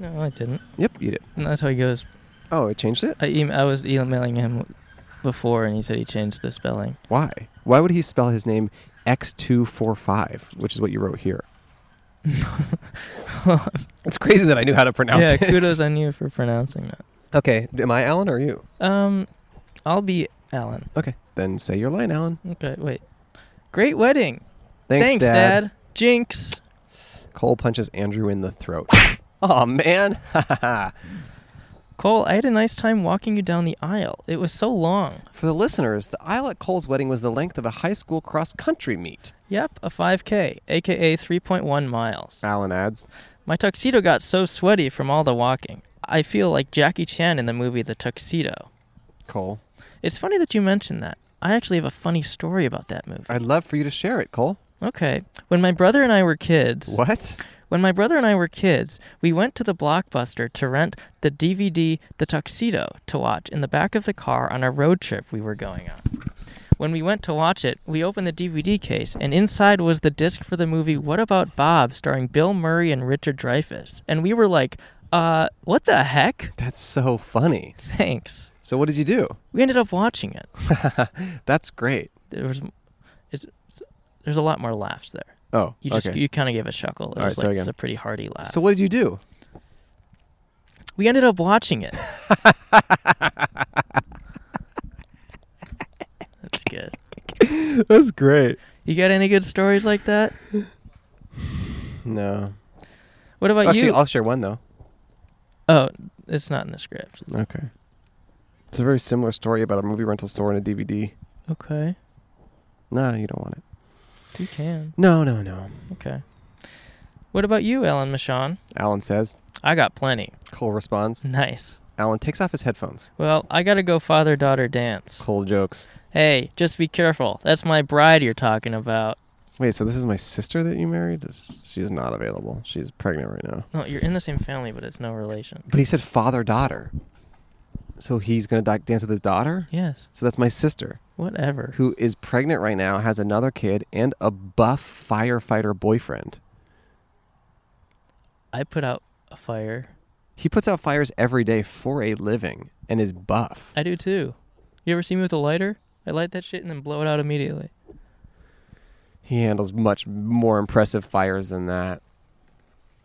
A: No, I didn't.
B: Yep, you did.
A: And that's how he goes.
B: Oh, it changed it?
A: I, em- I was emailing him before, and he said he changed the spelling. <laughs>
B: Why? Why would he spell his name X245, which is what you wrote here? it's crazy that I knew how to pronounce
A: yeah,
B: it.
A: kudos on you for pronouncing that.
B: <laughs> Okay, am I Alan or are you?
A: Um, I'll be Alan.
B: Okay, then say your line, Alan.
A: Okay, wait. Great wedding.
B: Thanks,
A: Dad. Jinx.
B: Cole punches Andrew in the throat. <laughs> oh, man. <laughs>
A: Cole, I had a nice time walking you down the aisle. It was so long.
B: For the listeners, the aisle at Cole's wedding was the length of a high school cross country meet.
A: Yep, a 5K, aka 3.1 miles.
B: Alan adds,
A: My tuxedo got so sweaty from all the walking. I feel like Jackie Chan in the movie The Tuxedo.
B: Cole,
A: It's funny that you mentioned that. I actually have a funny story about that movie.
B: I'd love for you to share it, Cole.
A: Okay. When my brother and I were kids,
B: What?
A: when my brother and I were kids, we went to the Blockbuster to rent the DVD The Tuxedo to watch in the back of the car on our road trip we were going on. When we went to watch it, we opened the DVD case, and inside was the disc for the movie What About Bob, starring Bill Murray and Richard Dreyfuss. And we were like, uh, what the heck? <laughs>
B: That's so funny.
A: Thanks.
B: So, what did you do?
A: We ended up watching it.
B: That's great.
A: There was, it's, there's a lot more laughs there.
B: Oh,
A: You just
B: okay.
A: you kind of gave a chuckle. It
B: All right,
A: was
B: try
A: like it's
B: again.
A: a pretty hearty laugh.
B: so, what did you do?
A: We ended up watching it. That's good.
B: That's great.
A: You got any good stories like that?
B: No.
A: What about
B: Actually,
A: you?
B: I'll share one though.
A: oh, it's not in the script.
B: Okay. It's a very similar story about a movie rental store and a DVD.
A: Okay.
B: No, you don't want it.
A: You can.
B: No, no, no.
A: Okay. What about you, Ellen Michon?
B: Alan says. Mm.
A: I got plenty.
B: Cole responds.
A: Nice.
B: Alan takes off his headphones.
A: Well, I gotta go father daughter dance.
B: Cole jokes.
A: Hey, just be careful. That's my bride you're talking about.
B: Wait, so this is my sister that you married? This, she's not available. She's pregnant right now.
A: No, you're in the same family, but it's no relation.
B: But he said father daughter. So he's gonna di- dance with his daughter.
A: Yes.
B: So that's my sister.
A: Whatever.
B: who is pregnant right now, has another kid, and a buff firefighter boyfriend.
A: I put out a fire.
B: He puts out fires every day for a living and is buff.
A: I do too. You ever see me with a lighter? I light that shit and then blow it out immediately.
B: He handles much more impressive fires than that.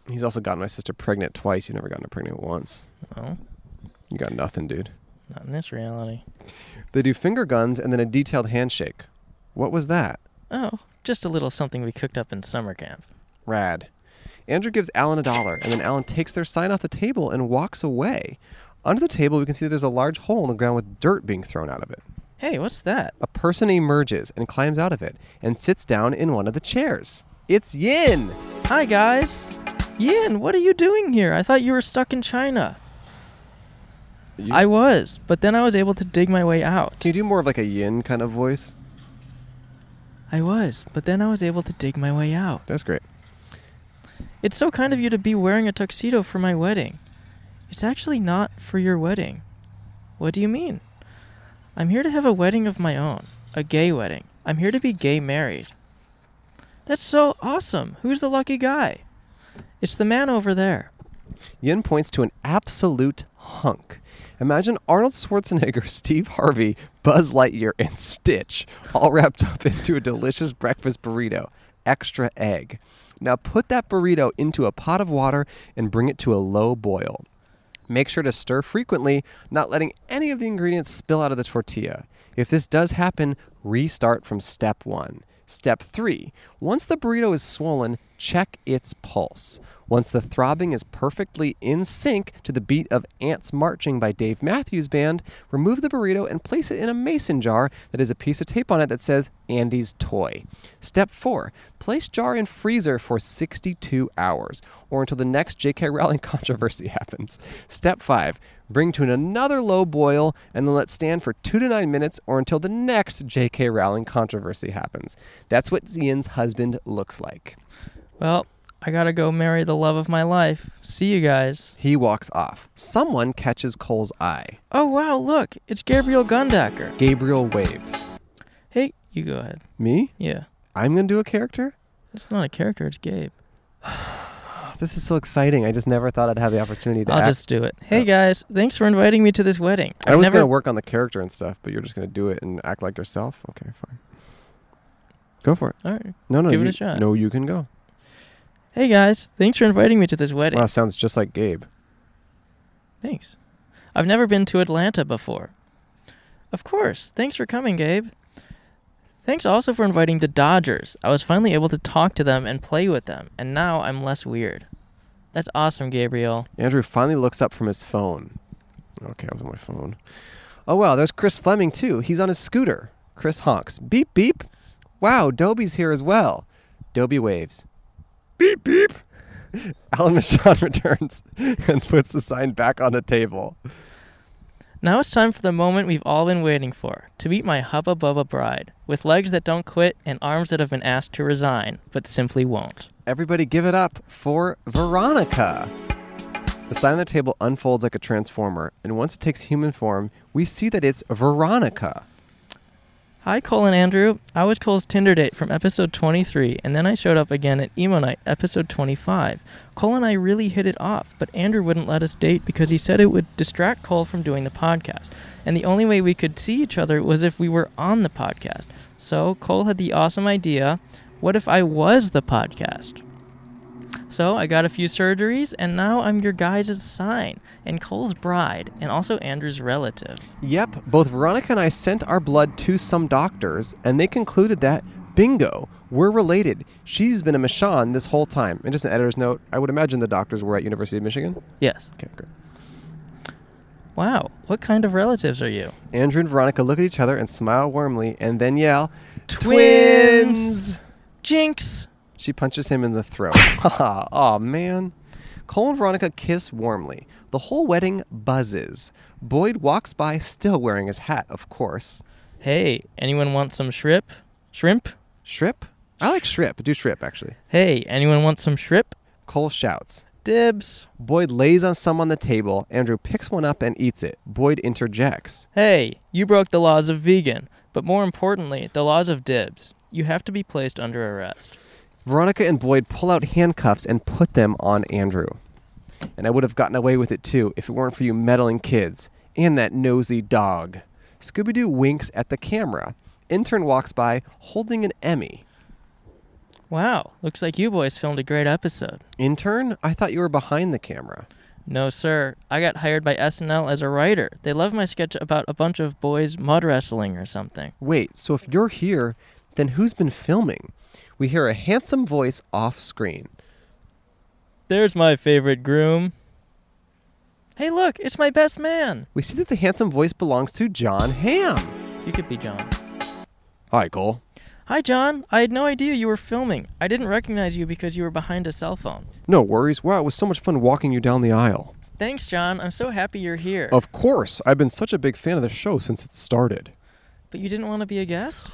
B: He's also gotten my sister pregnant twice. You've never gotten her pregnant once.
A: No,
B: You got nothing, dude.
A: not in this reality.
B: They do finger guns and then a detailed handshake. What was that?
A: Oh, just a little something we cooked up in summer camp.
B: Rad. Andrew gives Alan a dollar, and then Alan takes their sign off the table and walks away. Under the table, we can see there's a large hole in the ground with dirt being thrown out of it.
A: Hey, what's that?
B: A person emerges and climbs out of it and sits down in one of the chairs. It's Yin!
A: Hi, guys. Yin, what are you doing here? I thought you were stuck in China.
B: You-
A: I was, but then I was able to dig my way out.
B: Can you do more of like a Yin kind of voice?
A: I was, but then I was able to dig my way out.
B: That's great.
A: It's so kind of you to be wearing a tuxedo for my wedding. It's actually not for your wedding. What do you mean? I'm here to have a wedding of my own, a gay wedding. I'm here to be gay married. That's so awesome. Who's the lucky guy? It's the man over there.
B: Yin points to an absolute hunk. Imagine Arnold Schwarzenegger, <laughs> Steve Harvey, Buzz Lightyear, and Stitch all wrapped up into a delicious breakfast burrito. Extra egg. Now put that burrito into a pot of water and bring it to a low boil. Make sure to stir frequently, not letting any of the ingredients spill out of the tortilla. If this does happen, restart from step one. Step three once the burrito is swollen, check its pulse. Once the throbbing is perfectly in sync to the beat of Ants Marching by Dave Matthews Band, remove the burrito and place it in a mason jar that has a piece of tape on it that says Andy's Toy. Step four place jar in freezer for 62 hours or until the next J.K. Rowling <laughs> controversy happens. Step 5. Bring to an another low boil and then let stand for 2 to 9 minutes or until the next J.K. Rowling controversy happens. That's what Zian's husband looks like.
A: Well, I gotta go marry the love of my life. See you guys.
B: He walks off. Someone catches Cole's eye.
A: Oh wow, look, it's Gabriel Gundaker.
B: Gabriel waves.
A: Hey, you go ahead.
B: Me?
A: Yeah.
B: I'm going to do a character? Oh,
A: It's not a character, it's Gabe.
B: This is so exciting. I just never thought I'd have the opportunity to
A: I'll
B: act.
A: just do it. Hey guys, thanks for inviting me to this wedding.
B: I
A: I've
B: was
A: never
B: going to work on the character and stuff, but you're just going to do it and act like yourself? Okay, fine. Go for it.
A: All right.
B: No, no,
A: Give it
B: you-
A: a shot.
B: No, you can go.
A: Hey guys, thanks for inviting me to this wedding.
B: Wow, sounds just like Gabe.
A: Thanks. I've never been to Atlanta before. Of course. Thanks for coming, Gabe. Thanks also for inviting the Dodgers. I was finally able to talk to them and play with them, and now I'm less weird. That's awesome, Gabriel.
B: Andrew finally looks up from his phone. Okay, I was on my phone. Oh wow, there's Chris Fleming too. He's on his scooter. Chris honks. Beep beep. Wow, Dobie's here as well. Dobie waves. Beep beep. <laughs> Alan Michon <laughs> returns and puts the sign back on the table.
A: Now it's time for the moment we've all been waiting for to meet my Hubba Bubba bride, with legs that don't quit and arms that have been asked to resign, but simply won't.
B: Everybody give it up for Veronica. The sign on the table unfolds like a transformer, and once it takes human form, we see that it's Veronica.
A: Hi, Cole and Andrew. I was Cole's Tinder date from episode 23, and then I showed up again at Emo Night, episode 25. Cole and I really hit it off, but Andrew wouldn't let us date because he said it would distract Cole from doing the podcast. And the only way we could see each other was if we were on the podcast. So Cole had the awesome idea what if I was the podcast? So I got a few surgeries, and now I'm your guys' sign, and Cole's bride, and also Andrew's relative.
B: Yep, both Veronica and I sent our blood to some doctors, and they concluded that, bingo, we're related. She's been a Michonne this whole time. And just an editor's note, I would imagine the doctors were at University of Michigan.
A: Yes.
B: Okay, great.
A: Wow, what kind of relatives are you?
B: Andrew and Veronica look at each other and smile warmly and then yell,
A: Twins! Jinx!
B: She punches him in the throat. <laughs> Aw, man. Cole and Veronica kiss warmly. The whole wedding buzzes. Boyd walks by, still wearing his hat, of course.
A: Hey, anyone want some shrimp? Shrimp?
B: Shrip? I like Shrip. Do Shrip, actually.
A: Hey, anyone want some shrimp?
B: Cole shouts.
A: Dibs!
B: Boyd lays on some on the table. Andrew picks one up and eats it. Boyd interjects.
A: Hey, you broke the laws of vegan, but more importantly, the laws of dibs. You have to be placed under arrest.
B: Veronica and Boyd pull out handcuffs and put them on Andrew. And I would have gotten away with it too if it weren't for you meddling kids and that nosy dog. Scooby Doo winks at the camera. Intern walks by holding an Emmy.
A: Wow, looks like you boys filmed a great episode.
B: Intern, I thought you were behind the camera.
A: No, sir. I got hired by SNL as a writer. They love my sketch about a bunch of boys mud wrestling or something.
B: Wait, so if you're here, then who's been filming? We hear a handsome voice off screen.
A: There's my favorite groom. Hey, look, it's my best man.
B: We see that the handsome voice belongs to John Hamm.
A: You could be John.
B: Hi, Cole.
A: Hi, John. I had no idea you were filming. I didn't recognize you because you were behind a cell phone.
B: No worries. Wow, it was so much fun walking you down the aisle.
A: Thanks, John. I'm so happy you're here.
B: Of course, I've been such a big fan of the show since it started.
A: But you didn't want to be a guest?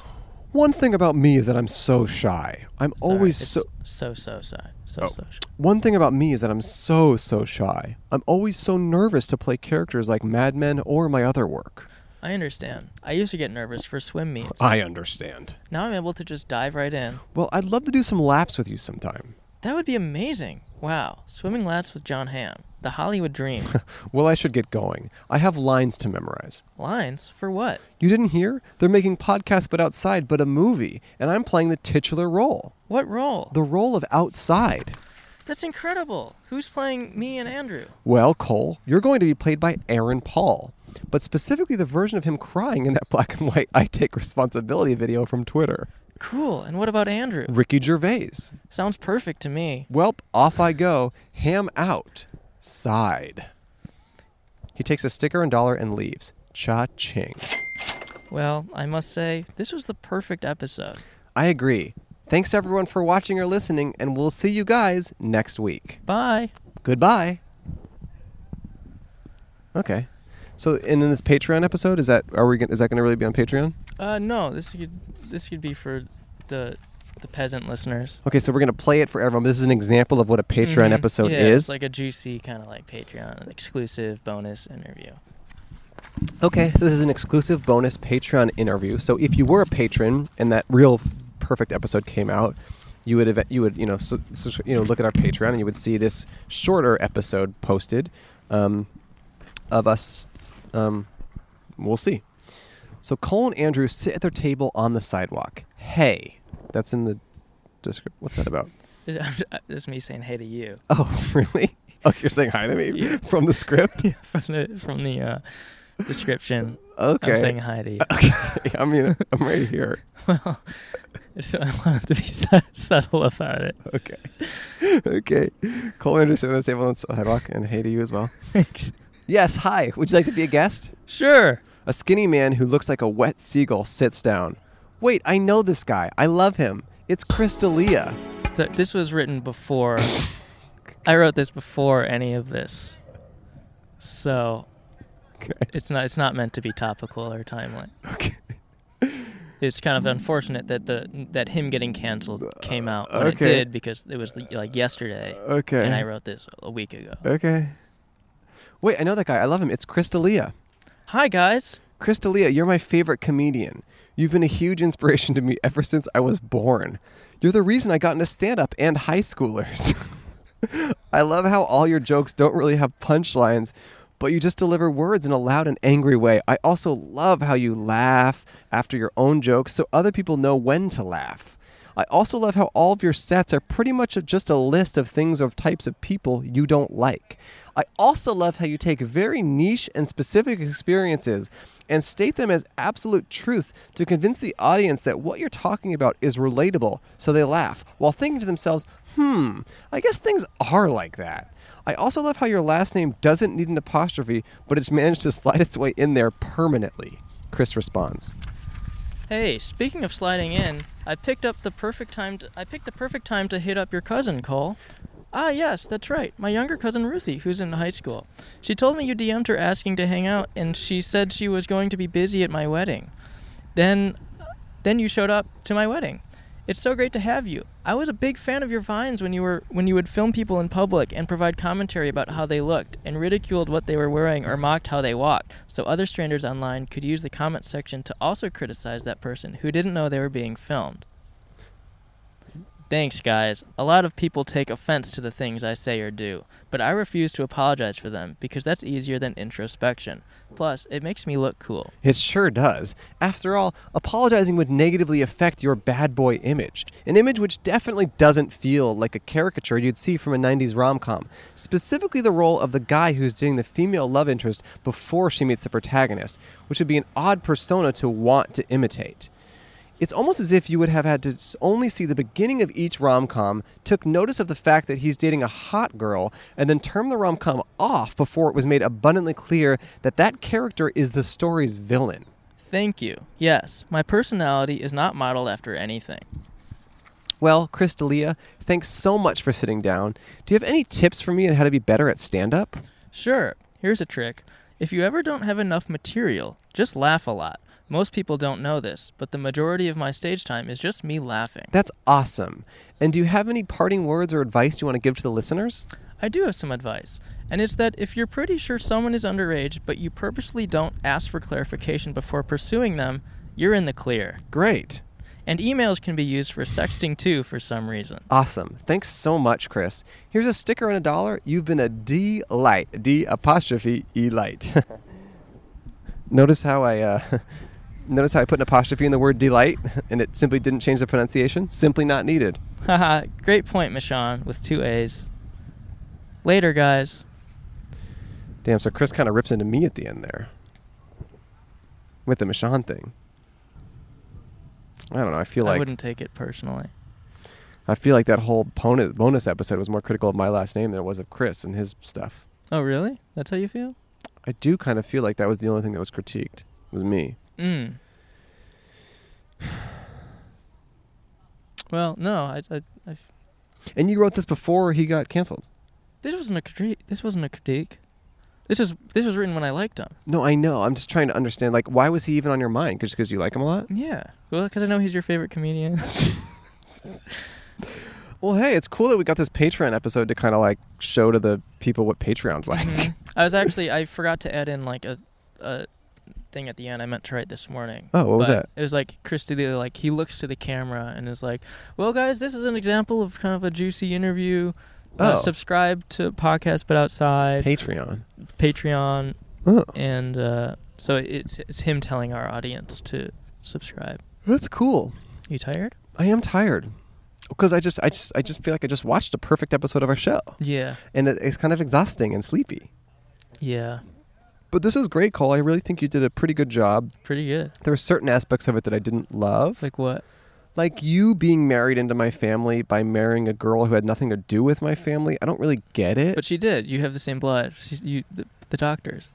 B: One thing about me is that I'm so shy. I'm
A: Sorry,
B: always
A: it's
B: so. Oh.
A: so so so so so shy.
B: One thing about me is that I'm so, so shy. I'm always so nervous to play characters like Mad Men or my other work.
A: I understand. I used to get nervous for swim meets.
B: I understand.
A: now I'm able to just dive right in.
B: Well, I'd love to do some laps with you sometime.
A: That would be amazing. Wow, swimming laps with John Hamm, the Hollywood
B: <laughs>
A: dream.
B: Well, I should get going. I have lines to memorize.
A: Lines for what?
B: You didn't hear? They're making Podcast But Outside, but a movie, and I'm playing the titular role
A: What role?
B: the role of outside.
A: That's incredible. Who's playing me and Andrew?
B: Well, Cole, you're going to be played by Aaron Paul, but specifically the version of him crying in that <laughs> black and white I Take Responsibility video from Twitter.
A: Cool. And what about Andrew?
B: Ricky Gervais.
A: Sounds perfect to me.
B: Welp, off I go. Ham out. Side. He takes a sticker and dollar and leaves. Cha ching.
A: Well, I must say, this was the perfect episode.
B: I agree. Thanks everyone for watching or listening, and we'll see you guys next week.
A: Bye.
B: Goodbye. Okay. So, and in this Patreon episode, is that are we gonna, is that going to really be on Patreon?
A: Uh, no, this could this could be for the the peasant listeners.
B: Okay, so we're going to play it for everyone. This is an example of what a Patreon
A: Mhm.
B: episode
A: yeah,
B: is.
A: It's like a juicy kind of like Patreon, an exclusive bonus interview.
B: Okay, so this is an exclusive bonus Patreon interview. So if you were a patron and that real perfect episode came out, you would have, you would you know su- su- you know look at our Patreon and you would see this shorter episode posted um, of us. Um, we'll see. So Cole and Andrew sit at their table on the sidewalk. Hey, that's in the description. What's that about?
A: This <laughs> is me saying hey to you
B: Oh, <laughs> really? Oh, you're saying hi to me
A: <laughs> Yeah.
B: <laughs> from the script?
A: from the from the uh, description.
B: Okay.
A: I'm saying hi to you.
B: <laughs> Okay, I mean, I'm right here.
A: <laughs> well, so I wanted to be <laughs> sub- subtle about it.
B: okay. <laughs> Okay. Cole Anderson on the table on the sidewalk, and hey to you as well.
A: <laughs> Thanks.
B: Yes, hi. Would you like to be a guest?
A: Sure.
B: A skinny man who looks like a wet seagull sits down. Wait, I know this guy. I love him. It's Chris
A: <laughs>
B: D'Elia.
A: Th- this was written
B: <coughs>
A: before. I wrote this before any of this, so
B: Okay.
A: it's not it's not meant to be topical or timely.
B: <laughs> Okay.
A: It's kind of unfortunate that the that him getting canceled came out when it
B: Okay.
A: did because it was like yesterday.
B: Okay.
A: And I wrote this a week ago.
B: Okay. Wait, I know that guy. I love him. It's Chris D'Elia.
A: Hi guys.
B: Chris D'Elia, you're my favorite comedian. You've been a huge inspiration to me ever since I was born. You're the reason I got into stand up and high schoolers. <laughs> I love how all your jokes don't really have punchlines, but you just deliver words in a loud and angry way. I also love how you laugh after your own jokes so other people know when to laugh. I also love how all of your sets are pretty much just a list of things or types of people you don't like. I also love how you take very niche and specific experiences and state them as absolute truths to convince the audience that what you're talking about is relatable, so they laugh while thinking to themselves, hmm, I guess things are like that. I also love how your last name doesn't need an apostrophe, but it's managed to <laughs> slide its way in there permanently. Chris responds.
A: Hey, speaking of sliding in, I picked up the perfect time. To, I picked the perfect time to hit up your cousin, Cole. Ah, yes, that's right. My younger cousin Ruthie, who's in high school. She told me you DM'd her asking to hang out, and she said she was going to be busy at my wedding. Then, then you showed up to my wedding. It's so great to have you. I was a big fan of your vines when you were when you would film people in public and provide commentary about how they looked and ridiculed what they were wearing or mocked how they walked, so other strangers online could use the comment section to also criticize that person who didn't know they were being filmed. Thanks, guys. A lot of people take offense to the things I say or do, but I refuse to apologize for them because that's easier than introspection. Plus, it makes me look cool.
B: It sure does. After all, apologizing would negatively affect your bad boy image, an image which definitely doesn't feel like a caricature you'd see from a 90s rom com, specifically the role of the guy who's dating the female love interest before she meets the protagonist, which would be an odd persona to want to imitate. It's almost as if you would have had to s- only see the beginning of each rom com, took notice of the fact that he's dating a hot girl, and then turned the rom com off before it was made abundantly clear that that character is the story's villain.
A: Thank you. Yes, my personality is not modeled after anything.
B: Well, Chris D'Elia, thanks so much for sitting down. Do you have any tips for me on how to be better at stand up?
A: Sure, here's a trick. If you ever don't have enough material, just laugh a lot. Most people don't know this, but the majority of my stage time is just me laughing.
B: That's awesome. And do you have any parting words or advice you want to give to the listeners?
A: I do have some advice, and it's that if you're pretty sure someone is underage but you purposely don't ask for clarification before pursuing them, you're in the clear.
B: Great.
A: And emails can be used for sexting too for some reason.
B: Awesome. Thanks so much, Chris. Here's a sticker and a dollar. You've been a delight. D apostrophe E light. <laughs> notice how I uh, <laughs> notice how I put an apostrophe in the word delight <laughs> and it simply didn't change the pronunciation? Simply not needed.
A: <laughs> Haha, great point, Michon, with two A's. Later, guys.
B: Damn, so Chris kind of rips into me at the end there. With the Michon thing. I don't know. I feel
A: I
B: like
A: wouldn't take it personally.
B: I feel like that whole bonus, bonus episode was more critical of my last name than it was of Chris and his stuff.
A: Oh, really? That's how you feel?
B: I do kind of feel like that was the only thing that was critiqued was me.
A: Mm. <sighs> Well, no, I, I, I,
B: And you wrote this before he got canceled.
A: this wasn't a critique. This wasn't a critique. This is this was written when I liked him.
B: No, I know. I'm just trying to understand. Like, why was he even on your mind? Just because you like him a lot?
A: Yeah. Well, because I know he's your favorite comedian. <laughs>
B: Well, hey, it's cool that we got this Patreon episode to kind of like show to the people what Patreon's like.
A: Mhm. <laughs> I was actually I forgot to add in like a, a thing at the end. I meant to write this morning.
B: Oh, what was
A: But
B: that?
A: It was like Chris D'Elia, like he looks to the camera and is like, "Well, guys, this is an example of kind of a juicy interview. Uh,
B: Oh.
A: subscribe to podcast, but outside
B: <laughs> Patreon.
A: Patreon,
B: Oh,
A: and uh, so it's it's him telling our audience to subscribe.
B: that's cool.
A: You tired?
B: I am tired because I just, I just, I just feel like I just watched a perfect episode of our show,
A: Yeah,
B: and it, it's kind of exhausting and sleepy.
A: yeah,
B: But this was great, Cole. I really think you did a pretty good job.
A: pretty good.
B: There were certain aspects of it that I didn't love, like,
A: Like what?
B: you being married into my family by marrying a girl who had nothing to do with my family. I don't really get it.
A: But she did. You have the same blood. She's you the, the doctors.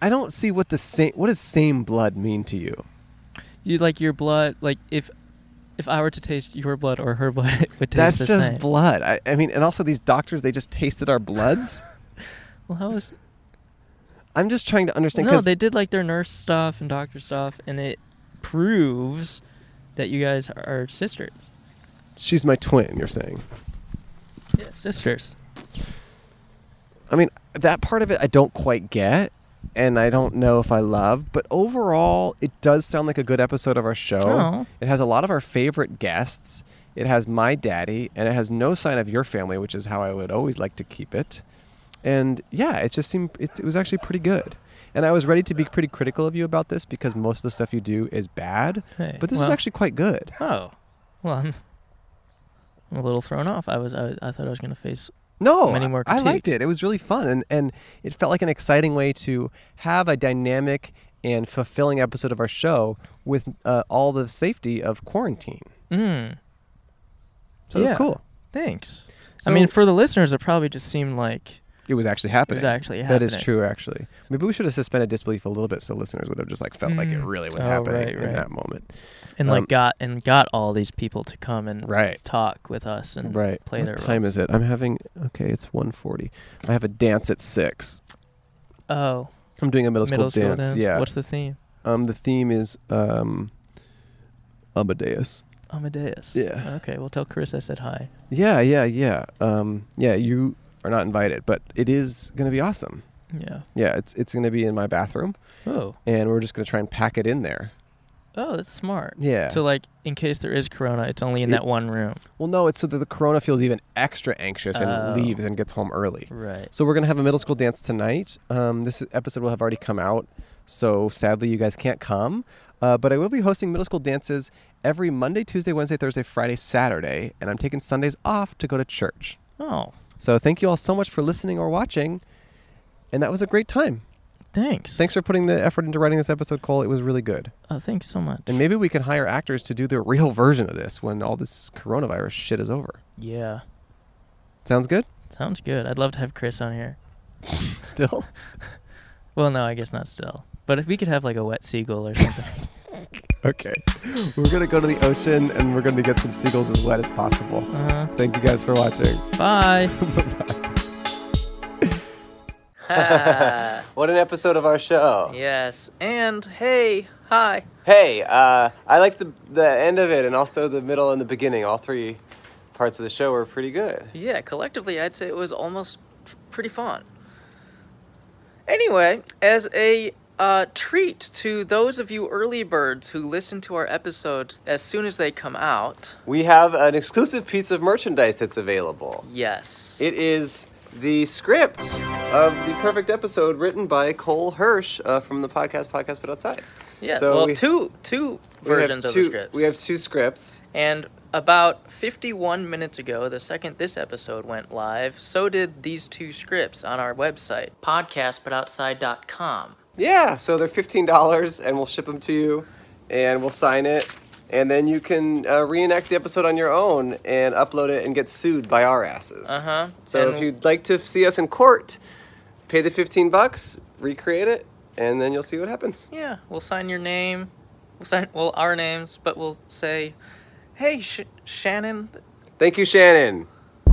B: I don't see what the same. What does same blood mean to you?
A: you like your blood like if if i were to taste your blood or her <laughs> blood it would taste
B: That's
A: the
B: just
A: same
B: blood. I, I mean, and also these doctors, they just tasted our
A: <laughs>
B: bloods.
A: well how is
B: I'm just trying to understand.
A: no
B: 'cause-
A: they did like their nurse stuff and doctor stuff and it proves that you guys are sisters
B: she's my twin. You're saying.
A: yeah sisters
B: I mean, that part of it I don't quite get, and I don't know if I love, but overall, it does sound like a good episode of our show.
A: Oh.
B: It has a lot of our favorite guests. It has my daddy, and it has no sign of your family, which is how I would always like to keep it. And yeah, it just seemed it, it was actually pretty good. And I was ready to be pretty critical of you about this because most of the stuff you do is bad,
A: Hey,
B: but this is
A: well-
B: actually quite good.
A: oh well i'm I'm a little thrown off. I was I, I thought I was gonna face
B: No,
A: many more
B: I liked
A: critiques.
B: it. It was really fun, and and it felt like an exciting way to have a dynamic and fulfilling episode of our show with uh, all the safety of quarantine.
A: mm,
B: So it was
A: Yeah.
B: cool.
A: thanks.
B: So-
A: I mean for the listeners it probably just seemed like
B: It was actually happening.
A: actually
B: That is
A: happening.
B: true. Actually, maybe we should have suspended disbelief a little bit so listeners would have just like felt like it
A: Mm.
B: really was
A: Oh,
B: happening
A: right,
B: in
A: right.
B: that moment.
A: and
B: Um,
A: like got and got all these people to come and
B: Right.
A: talk with us and
B: Right.
A: play
B: what
A: their
B: time is it? I'm having. Okay, it's 1:40. I have a dance at six.
A: Oh,
B: I'm doing a middle school, dance. Yeah.
A: What's the theme?
B: um, the theme is um, Amadeus.
A: Amadeus.
B: Yeah.
A: Okay, well tell Chris I said hi.
B: Yeah, yeah, yeah. Um, yeah, you are not invited, but it is going to be awesome.
A: Yeah.
B: Yeah, it's it's going to be in my bathroom,
A: Oh.
B: and we're just going to try and pack it in there.
A: Oh, that's smart.
B: Yeah.
A: So like, in case there is corona, it's only in
B: It-
A: that one room.
B: Well, no, it's so that the corona feels even extra anxious and
A: Oh.
B: leaves and gets home early.
A: Right.
B: So we're gonna have a middle school dance tonight. Um, this episode will have already come out, so sadly you guys can't come. Uh, but I will be hosting middle school dances every Monday, Tuesday, Wednesday, Thursday, Friday, Saturday, and I'm taking Sundays off to go to church.
A: Oh,
B: So thank you all so much for listening or watching, and that was a great time.
A: thanks.
B: Thanks for putting the effort into writing this episode, Cole. It was really good,
A: Oh, thanks so much.
B: and maybe we can hire actors to do the <laughs> real version of this when all this coronavirus shit is over.
A: yeah.
B: Sounds good? <laughs>
A: Sounds good. I'd love to have Chris on here.
B: Still.
A: Well, no, I guess not still. But if we could have like a wet seagull or something.
B: <laughs> Okay. We're going to go to the ocean and we're going to get some seagulls as wet as possible.
A: uh,
B: Thank you guys for watching. <laughs>
A: bye. Ah,
D: What an episode of our show.
A: <laughs> yes. And hey, hi.
D: Hey, uh, I liked the, the end of it and also the middle and the beginning. All three parts of the show were pretty good.
A: Yeah, collectively, I'd say it was almost f- pretty fun. Anyway, as a uh, treat to those of you early birds who listen to our episodes as soon as they come out,
D: We have an exclusive piece of merchandise that's available.
A: yes.
D: It is the script of the perfect episode written by Cole Hirsch uh, from the podcast Podcast But Outside.
A: yeah,
D: so
A: well,
D: we-
A: two two
D: We have
A: versions of
D: two-
A: the scripts.
D: We have two scripts.
A: And about 51 minutes ago, the second this episode went live, so did these two scripts on our website, podcastbutoutside.com.
D: Yeah, so they're fifteen dollars, and we'll ship them to you, and we'll sign it, and then you can uh, reenact the episode on your own and upload it and get sued by our asses. Uh
A: Uh-huh.
D: So
A: And-
D: if you'd like to see us in court, pay the fifteen bucks, recreate it, and then you'll see what happens.
A: Yeah, we'll sign your name. We'll sign well our names, but we'll say, "Hey, Sh- Shannon,
D: Thank you, Shannon.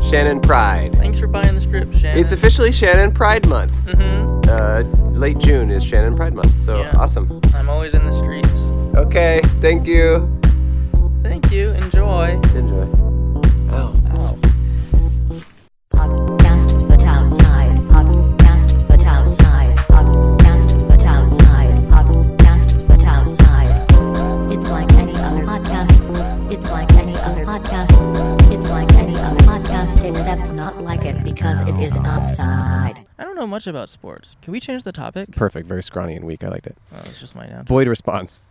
D: Shannon Pride.
A: thanks for buying the script, Shannon."
D: It's officially Shannon Pride Month. Mm-hmm. Uh, late June is Shannon Pride Month, so
A: Yeah.
D: awesome.
A: I'm always in the streets.
D: Okay, thank you.
A: Thank you. Enjoy.
D: Enjoy. Oh.
C: Podcast but outside. Podcast but outside. Podcast but outside. Podcast but outside. It's like any other podcast. It's like any other podcast. It's like any other podcast except not like it because it is outside.
A: I don't know much about sports. Can we change the topic?
B: Perfect. Very scrawny and weak. I liked it.
A: Oh, that's just my noun.
B: Boyd response.